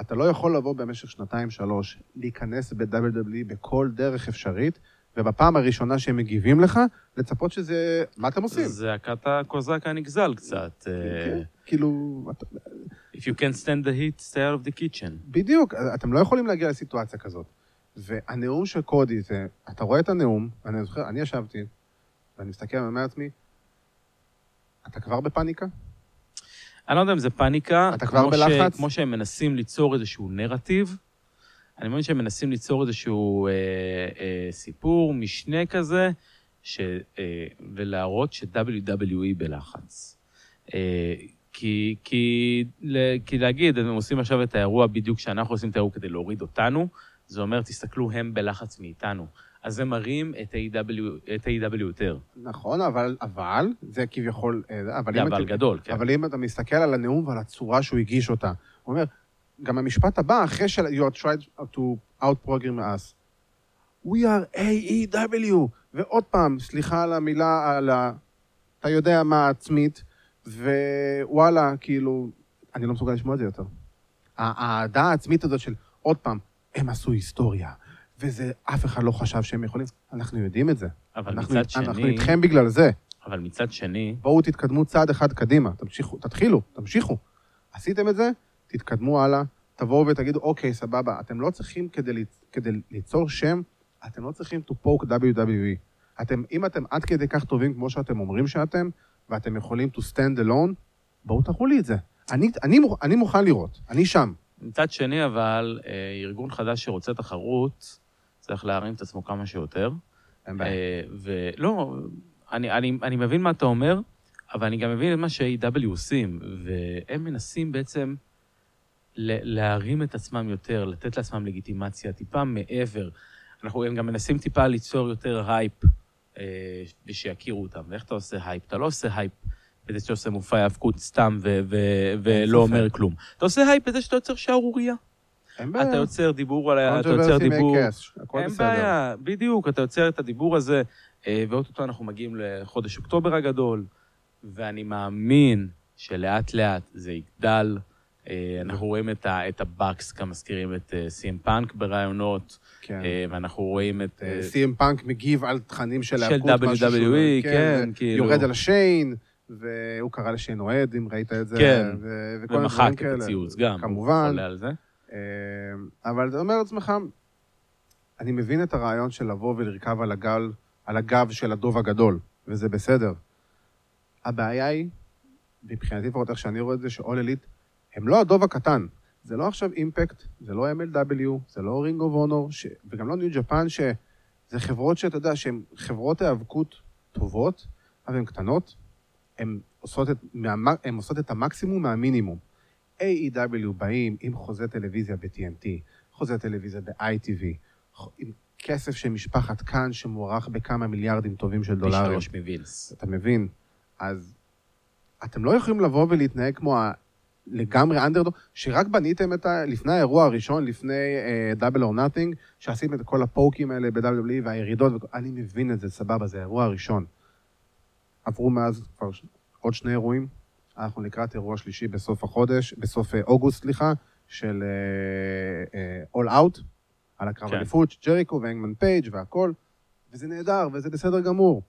A: אתה לא יכול לבוא במשך שנתיים-שלוש, להיכנס ב-WWE בכל דרך אפשרית, ובפעם הראשונה שהם מגיבים לך, לצפות שזה... מה אתם עושים?
B: זעקת הקוזק הנגזל קצת. אה,
A: כן, כאילו, אתה-
B: If you can stand the heat, stay out of the kitchen.
A: בדיוק, אתם לא יכולים להגיע לסיטואציה כזאת. והנאום של קודי, זה, אתה רואה את הנאום, אני זוכר, אני ישבתי, ואני מסתכל ואומר לעצמי, אתה כבר בפאניקה?
B: אני לא יודע אם זה פאניקה.
A: אתה כבר
B: כמו ש-
A: בלחץ?
B: כמו שהם מנסים ליצור איזשהו נרטיב. אני מאמין שהם מנסים ליצור איזשהו אה, אה, סיפור, משנה כזה, ש, אה, ולהראות ש-WWE בלחץ. אה, כי, כי, ל- כי להגיד, הם עושים עכשיו את האירוע בדיוק שאנחנו עושים את האירוע כדי להוריד אותנו, זה אומר, תסתכלו, הם בלחץ מאיתנו. אז הם מראים את A.W. את A.W. יותר.
A: נכון, אבל, אבל, זה כביכול, אה, אבל,
B: זה
A: אם
B: אבל
A: אתה,
B: גדול, כן.
A: אבל אם אתה מסתכל על הנאום ועל הצורה שהוא הגיש אותה, הוא אומר, גם המשפט הבא, אחרי של you are tried to out-program us, we are AEW, ועוד פעם, סליחה על המילה, על ה... אתה יודע מה עצמית, ווואלה, כאילו, אני לא מסוגל לשמוע את זה יותר. ה- האהדה העצמית הזאת של, עוד פעם, הם עשו היסטוריה, וזה, אף אחד לא חשב שהם יכולים, אנחנו יודעים את זה.
B: אבל
A: אנחנו,
B: מצד שני...
A: אנחנו איתכם בגלל זה.
B: אבל מצד שני,
A: בואו תתקדמו צעד אחד קדימה, תמשיכו, תתחילו, תמשיכו. עשיתם את זה, תתקדמו הלאה, תבואו ותגידו, אוקיי, סבבה, אתם לא צריכים כדי, לי- כדי ליצור שם, אתם לא צריכים to poke WWE. אתם, אם אתם עד כדי כך טובים כמו שאתם אומרים שאתם, ואתם יכולים to stand alone, בואו תראו לי את זה. אני, אני, מוכ- אני מוכן לראות, אני שם.
B: מצד שני, אבל, אה, ארגון חדש שרוצה תחרות, צריך להרים את עצמו כמה שיותר.
A: אין בעיה.
B: אה, ולא, אני, אני, אני מבין מה אתה אומר, אבל אני גם מבין את מה ש-AW עושים, והם מנסים בעצם ל- להרים את עצמם יותר, לתת לעצמם לגיטימציה טיפה מעבר. אנחנו, הם גם מנסים טיפה ליצור יותר הייפ, אה, ושיכירו אותם. ואיך אתה עושה הייפ? אתה לא עושה הייפ בזה שאתה עושה מופע האבקות סתם ו- ו- ולא
A: ספק.
B: אומר כלום. אתה עושה הייפ בזה שאתה יוצר שערורייה.
A: אין בעיה.
B: אה, אתה יוצר דיבור על ה... אתה יוצר
A: Controversy
B: דיבור...
A: make cash, הכל
B: אין
A: בסדר.
B: בעיה, בדיוק, אתה יוצר את הדיבור הזה, אה, ואו-טו-טו אנחנו מגיעים לחודש אוקטובר הגדול, ואני מאמין שלאט-לאט זה יגדל. אה, אנחנו רואים את ה- את הבאקס, גם מזכירים את סים פאנק בראיונות,
A: כן.
B: אה, ואנחנו רואים את... אה,
A: סי.אם פאנק מגיב על תכנים של
B: של
A: להקות, משהו שהוא-
B: WWE, כן, כאילו.
A: יורד על השיין, והוא קרא לשיין אוהד, אם ראית את זה.
B: כן,
A: ו- וכל מיני
B: ומחק
A: דברים
B: את
A: כאלה.
B: הציוץ גם.
A: כמובן.
B: עולה על זה.
A: אה, אבל אתה אומר לעצמך, אני מבין את הרעיון של לבוא ולרכב על הגל, על הגב של הדוב הגדול, וזה בסדר. הבעיה היא, מבחינתי לפחות איך שאני רואה את זה, שאול אליט הם לא הדוב הקטן. זה לא עכשיו אימפקט, זה לא MLW, זה לא רינג אוף אונור, ש... וגם לא ניו ג'פן, שזה חברות שאתה יודע, שהן חברות היאבקות טובות, אבל הן קטנות, הן עושות, את, מה... הן עושות את המקסימום מהמינימום. AEW באים עם חוזה טלוויזיה ב-TNT, חוזה טלוויזיה ב-ITV, ח- עם כסף של משפחת כאן שמוערך בכמה מיליארדים טובים של
B: פי
A: דולרים.
B: שלוש מווילס.
A: אתה מבין? אז אתם לא יכולים לבוא ולהתנהג כמו ה... לגמרי אנדרדוג, שרק בניתם את ה... לפני האירוע הראשון, לפני אה, דאבל אור נאטינג, שעשיתם את כל הפוקים האלה ב-WWE והירידות, וכ- אני מבין את זה, סבבה, זה האירוע הראשון. עברו מאז כבר ש- עוד שני אירועים, אנחנו לקראת אירוע שלישי בסוף החודש, בסוף אה, אוגוסט, סליחה, של אה, אול אאוט, על הקרב
B: כן.
A: אליפות, ג'ריקו והנגמן פייג' והכל, וזה נהדר, וזה בסדר גמור.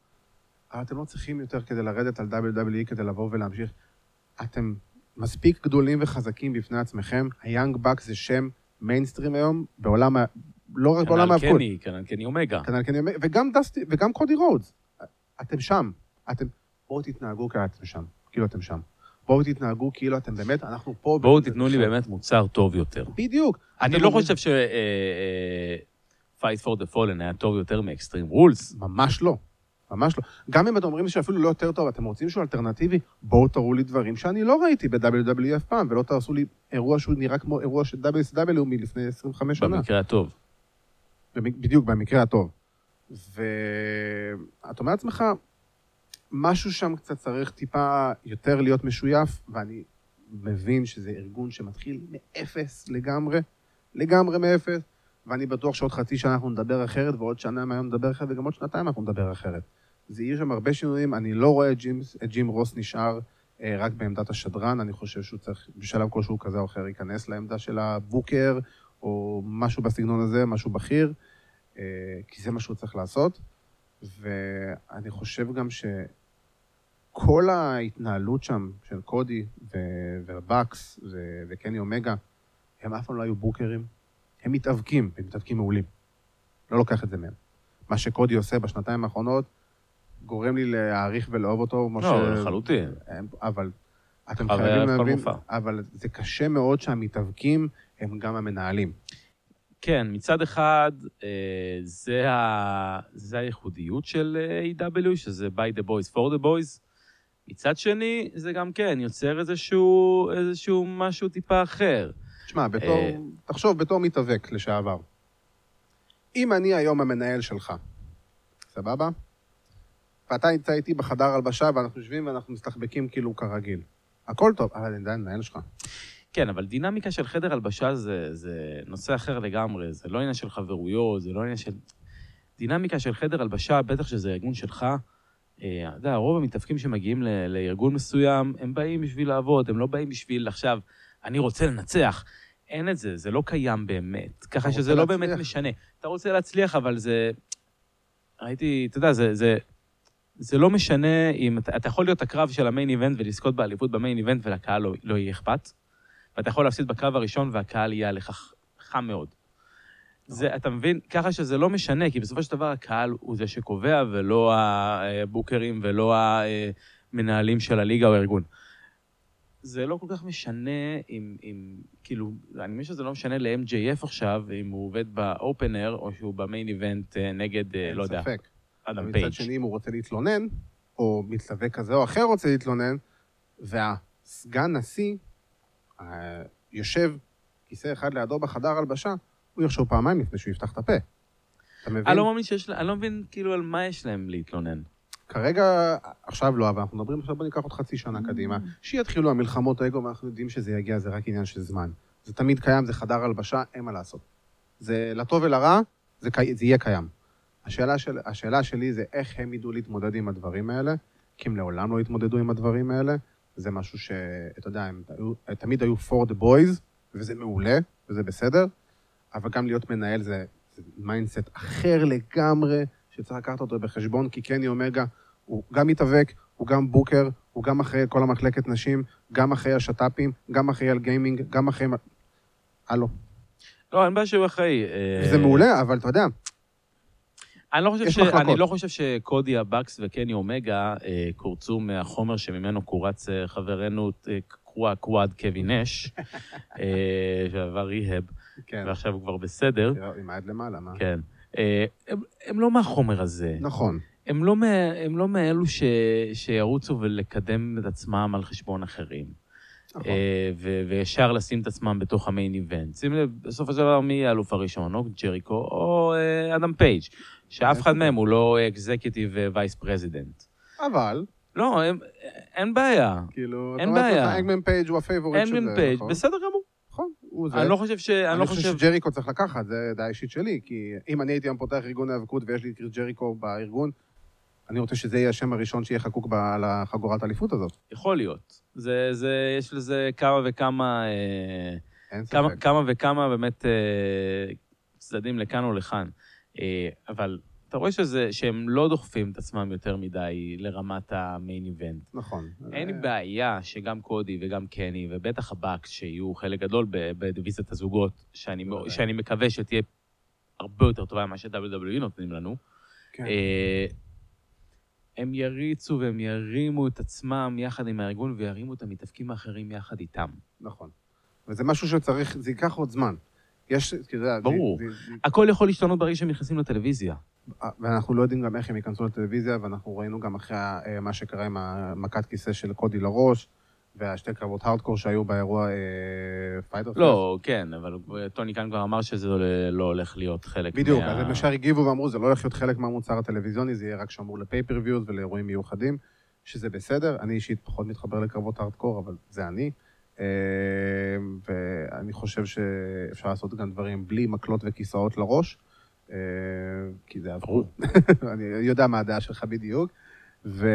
A: אבל אתם לא צריכים יותר כדי לרדת על WWE כדי לבוא ולהמשיך. אתם מספיק גדולים וחזקים בפני עצמכם. היאנג בקס זה שם מיינסטרים היום, בעולם ה... לא רק בעולם
B: כנ"ל
A: האבקות.
B: קני, כנ"ל קני אומגה.
A: כנ"ל קני. אומר- וגם דסטי, וגם קודי רודס. אתם שם. אתם... בואו תתנהגו כאילו אתם שם. כאילו אתם שם. בואו תתנהגו כאילו אתם באמת, אנחנו פה.
B: בואו
A: וזה
B: תיתנו לי
A: שם.
B: באמת מוצר טוב יותר.
A: בדיוק.
B: אני
A: אתם
B: לא
A: אומרים-
B: חושב ש... אה, אה, Fight for the Fallen היה טוב יותר מאקסטרים רולס.
A: ממש לא. ממש לא. גם אם אתם אומרים שאפילו לא יותר טוב, אתם רוצים שהוא אלטרנטיבי, בואו תראו לי דברים שאני לא ראיתי ב-WWE אף פעם, ולא תעשו לי אירוע שהוא נראה כמו אירוע של WCW מלפני 25 שנה.
B: במקרה הטוב.
A: במק- בדיוק, במקרה הטוב. ואתה אומר לעצמך, משהו שם קצת צריך טיפה יותר להיות משויף, ואני מבין שזה ארגון שמתחיל מאפס לגמרי, לגמרי מאפס, ואני בטוח שעוד חצי שנה אנחנו נדבר אחרת, ועוד שנה מהיום נדבר אחרת, וגם עוד שנתיים אנחנו נדבר אחרת. זה יהיו שם הרבה שינויים, אני לא רואה את ג'ים, את ג'ים רוס נשאר אה, רק בעמדת השדרן, אני חושב שהוא צריך בשלב כלשהו כזה או אחר להיכנס לעמדה של הבוקר, או משהו בסגנון הזה, משהו בכיר. אה, כי זה מה שהוא צריך לעשות. ואני חושב גם שכל ההתנהלות שם של קודי ו- ובקס ו- וקני אומגה, הם אף פעם לא היו בוקרים. הם מתאבקים, הם מתאבקים מעולים. לא לוקח את זה מהם. מה שקודי עושה בשנתיים האחרונות, גורם לי להעריך ולאהוב אותו. כמו
B: לא,
A: ש-
B: לחלוטין.
A: הם- אה, אבל אתם
B: אבל
A: חייבים
B: כל
A: להבין,
B: מופע.
A: אבל זה קשה מאוד שהמתאבקים הם גם המנהלים.
B: כן, מצד אחד, אה, זה, ה... זה הייחודיות של אה, A.W, שזה by the boys for the boys. מצד שני, זה גם כן יוצר איזשהו, איזשהו משהו טיפה אחר.
A: תשמע, בתור,
B: אה,
A: תחשוב, בתור מתאבק לשעבר. אם אני היום המנהל שלך, סבבה? ואתה נמצא איתי בחדר הלבשה ואנחנו יושבים ואנחנו מסתחבקים כאילו כרגיל. הכל טוב, אבל אני עדיין מנהל שלך.
B: כן, אבל דינמיקה של חדר הלבשה זה, זה נושא אחר לגמרי, זה לא עניין של חברויות, זה לא עניין של... דינמיקה של חדר הלבשה, בטח שזה ארגון שלך, אה, אתה יודע, רוב המתאבקים שמגיעים ל- לארגון מסוים, הם באים בשביל לעבוד, הם לא באים בשביל עכשיו, אני רוצה לנצח. אין את זה, זה לא קיים באמת. ככה
A: רוצה
B: שזה לא
A: להצליח.
B: באמת משנה. אתה רוצה להצליח, אבל זה... הייתי, אתה יודע, זה, זה, זה לא משנה אם אתה, אתה יכול להיות הקרב של המיין איבנט ולזכות באליפות במיין איבנט ולקהל לא, לא יהיה אכפת, ואתה יכול להפסיד בקרב הראשון והקהל יהיה עליך ח- חם מאוד. זה, אתה מבין? ככה שזה לא משנה, כי בסופו של דבר הקהל הוא זה שקובע, ולא הבוקרים ולא המנהלים של הליגה או הארגון. זה לא כל כך משנה אם, אם כאילו, אני מבין שזה לא משנה ל-MJF עכשיו, אם הוא עובד באופנר, או שהוא במיין איבנט אה, נגד, אה, לא יודע,
A: ספק.
B: אדם פייג'.
A: כן, מצד שני, אם הוא רוצה להתלונן, או מתלווה כזה או אחר רוצה להתלונן, והסגן נשיא אה, יושב כיסא אחד לידו בחדר הלבשה, הוא יחשוב פעמיים לפני שהוא יפתח את הפה. אתה מבין?
B: אני לא מאמין שיש להם, אני לא מבין כאילו על מה יש להם להתלונן.
A: כרגע, עכשיו לא, אבל אנחנו מדברים עכשיו, בוא ניקח עוד חצי שנה קדימה. שיתחילו המלחמות האגו, ואנחנו יודעים שזה יגיע, זה רק עניין של זמן. זה תמיד קיים, זה חדר הלבשה, אין מה לעשות. זה לטוב ולרע, זה, קי... זה יהיה קיים. השאלה, של... השאלה שלי זה איך הם ידעו להתמודד עם הדברים האלה, כי הם לעולם לא התמודדו עם הדברים האלה. זה משהו שאתה יודע, הם היו, הם תמיד היו for the boys, וזה מעולה, וזה בסדר, אבל גם להיות מנהל זה, זה מיינדסט אחר לגמרי, שצריך לקחת אותו בחשבון, כי קני אומגה הוא גם מתאבק, הוא גם בוקר, הוא גם אחראי על כל המחלקת נשים, גם אחראי על שת"פים, גם אחראי על גיימינג, גם אחראי... על- הלו.
B: לא, אין בעיה שהוא אחראי. אה,
A: זה מעולה, אבל אתה יודע,
B: אני לא, חושב
A: יש
B: ש...
A: מחלקות.
B: אני לא חושב שקודי הבקס וקני אומגה אה, קורצו מהחומר שממנו קורץ אה, חברנו אה, קוואד, קוואד קווין נש, אה, *laughs* שעבר ריהאב,
A: כן,
B: ועכשיו הוא כבר בסדר.
A: עם היד למעלה, מה?
B: כן. אה, הם, הם לא מהחומר הזה.
A: נכון.
B: הם לא, מה, הם לא מאלו ש, שירוצו ולקדם את עצמם על חשבון אחרים.
A: נכון.
B: אה, ו- וישר לשים את עצמם בתוך המיין איבנט. שים לב, בסופו של דבר מי האלוף הראשון, או ג'ריקו או אה, אדם פייג', שאף אחד מהם הוא לא אקזקיוטיב וייס פרזידנט.
A: אבל,
B: לא, הם- אין בעיה.
A: כאילו,
B: אין
A: אתה אומר
B: בעיה.
A: לעצמך, אנגמן פייג' הוא הפייבוריט של זה,
B: אין פייג',
A: נכון?
B: בסדר גמור.
A: נכון, הוא זה.
B: אני לא חושב ש... אני לא חושב...
A: שג'ריקו צריך לקחת, זה דעה אישית שלי, כי אם אני הייתי היום פותח ארגון האבקות ויש לי את ג'ריקו בארגון, אני רוצה שזה יהיה השם הראשון שיהיה חקוק ב- על החגורת האליפות הזאת.
B: יכול להיות. זה, זה, יש לזה כמה וכמה, אה,
A: אין ספק.
B: כמה, כמה וכמה באמת אה, צדדים לכאן או לכאן. אה, אבל אתה רואה שזה, שהם לא דוחפים את עצמם יותר מדי לרמת המיין איבנט.
A: נכון.
B: אין לי
A: אה,
B: בעיה שגם קודי וגם קני, ובטח הבקס, שיהיו חלק גדול ב- בדיוויזיית הזוגות, שאני, מאו-
A: בוודאי.
B: שאני מקווה שתהיה הרבה יותר טובה ממה ש-WWE נותנים לנו.
A: כן.
B: אה, הם יריצו והם ירימו את עצמם יחד עם הארגון, וירימו את המתאבקים האחרים יחד איתם.
A: נכון. וזה משהו שצריך, זה ייקח עוד זמן. יש, אתה יודע... זה-
B: ברור.
A: זה- זה-
B: הכל יכול להשתנות ברגע שהם נכנסים לטלוויזיה.
A: ואנחנו לא יודעים גם איך הם ייכנסו לטלוויזיה, ואנחנו ראינו גם אחרי אה, מה שקרה עם המכת כיסא של קודי לראש, והשתי קרבות הארדקור שהיו באירוע אה, פייטר
B: לא, כן, אבל טוני כאן כבר אמר שזה לא הולך להיות חלק מה...
A: בדיוק, אז הם ישר הגיבו ואמרו, זה לא הולך להיות חלק מהמוצר הטלוויזיוני, זה יהיה רק שמור לפייפריוויוז ולאירועים מיוחדים, שזה בסדר. אני אישית פחות מתחבר לקרבות הארדקור, אבל זה אני. אה, ואני חושב שאפשר לעשות גם דברים בלי מקלות וכיסאות לראש, אה, כי זה עברו. *laughs* אני יודע מה הדעה שלך בדיוק. ו...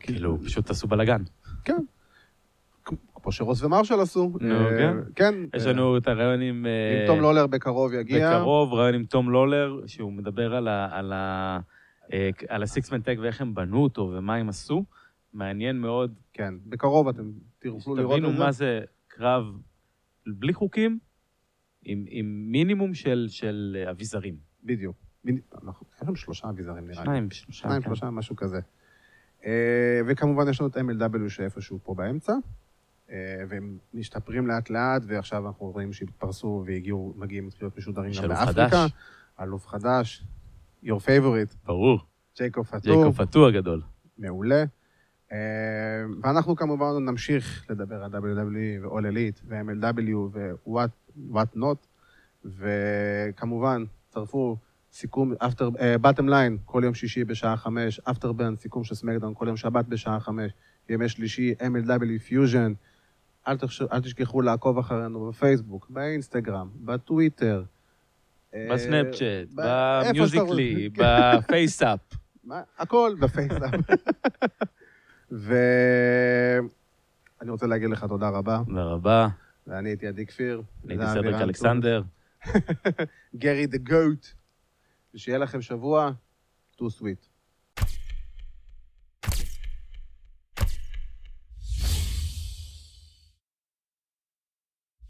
B: כאילו, פשוט עשו בלאגן.
A: כן. כמו שרוס ומרשל עשו.
B: נו,
A: אה,
B: כן.
A: כן.
B: יש לנו את הרעיון עם... אה,
A: אם לא תום לולר בקרוב יגיע.
B: בקרוב, רעיון עם תום לולר, שהוא מדבר על ה- על ה- אה, על הסיקסמן טק ואיך הם בנו אותו ומה הם עשו. מעניין מאוד,
A: כן, בקרוב אתם תוכלו לראות את
B: שתבינו
A: זה.
B: מה זה קרב בלי חוקים, עם, עם מינימום של, של אה, אביזרים.
A: בדיוק. בנ- אנחנו- יש לנו שלושה אביזרים נראה לי.
B: שניים, שלושה.
A: שניים,
B: כן.
A: שלושה, משהו כזה. אה, וכמובן יש לנו את MLW שאיפשהו פה באמצע, אה, והם משתפרים לאט לאט, ועכשיו אנחנו רואים שהתפרסו והגיעו, מגיעים, מתחילים להיות משודרים
B: יש
A: גם
B: אלוף
A: באפריקה.
B: חדש.
A: אלוף חדש. your favorite,
B: ברור.
A: ג'ייקוב פטור,
B: ג'ייקוב פטור הגדול.
A: מעולה. אה, ואנחנו כמובן נמשיך לדבר על E WWE ו-all elite ו-MLW ו-what what not, וכמובן, צרפו סיכום, after, uh, bottom line, כל יום שישי בשעה חמש, after burn, סיכום של סמקדאון, כל יום שבת בשעה חמש, ימי שלישי, MLW פיוז'ן. אל, תחש... אל תשכחו לעקוב אחרינו בפייסבוק, באינסטגרם, בטוויטר. אה,
B: בסנאפצ'אט,
A: ב- איפה
B: במיוזיקלי,
A: שאתה כן.
B: בפייסאפ.
A: מה? הכל בפייסאפ. ואני רוצה להגיד לך תודה רבה,
B: תודה רבה.
A: ואני הייתי עדי כפיר.
B: אני הייתי
A: וזה
B: סדריק
A: אבירם
B: אלכסנדר.
A: טוב. גרי דה גוט. ושיהיה לכם שבוע, too sweet.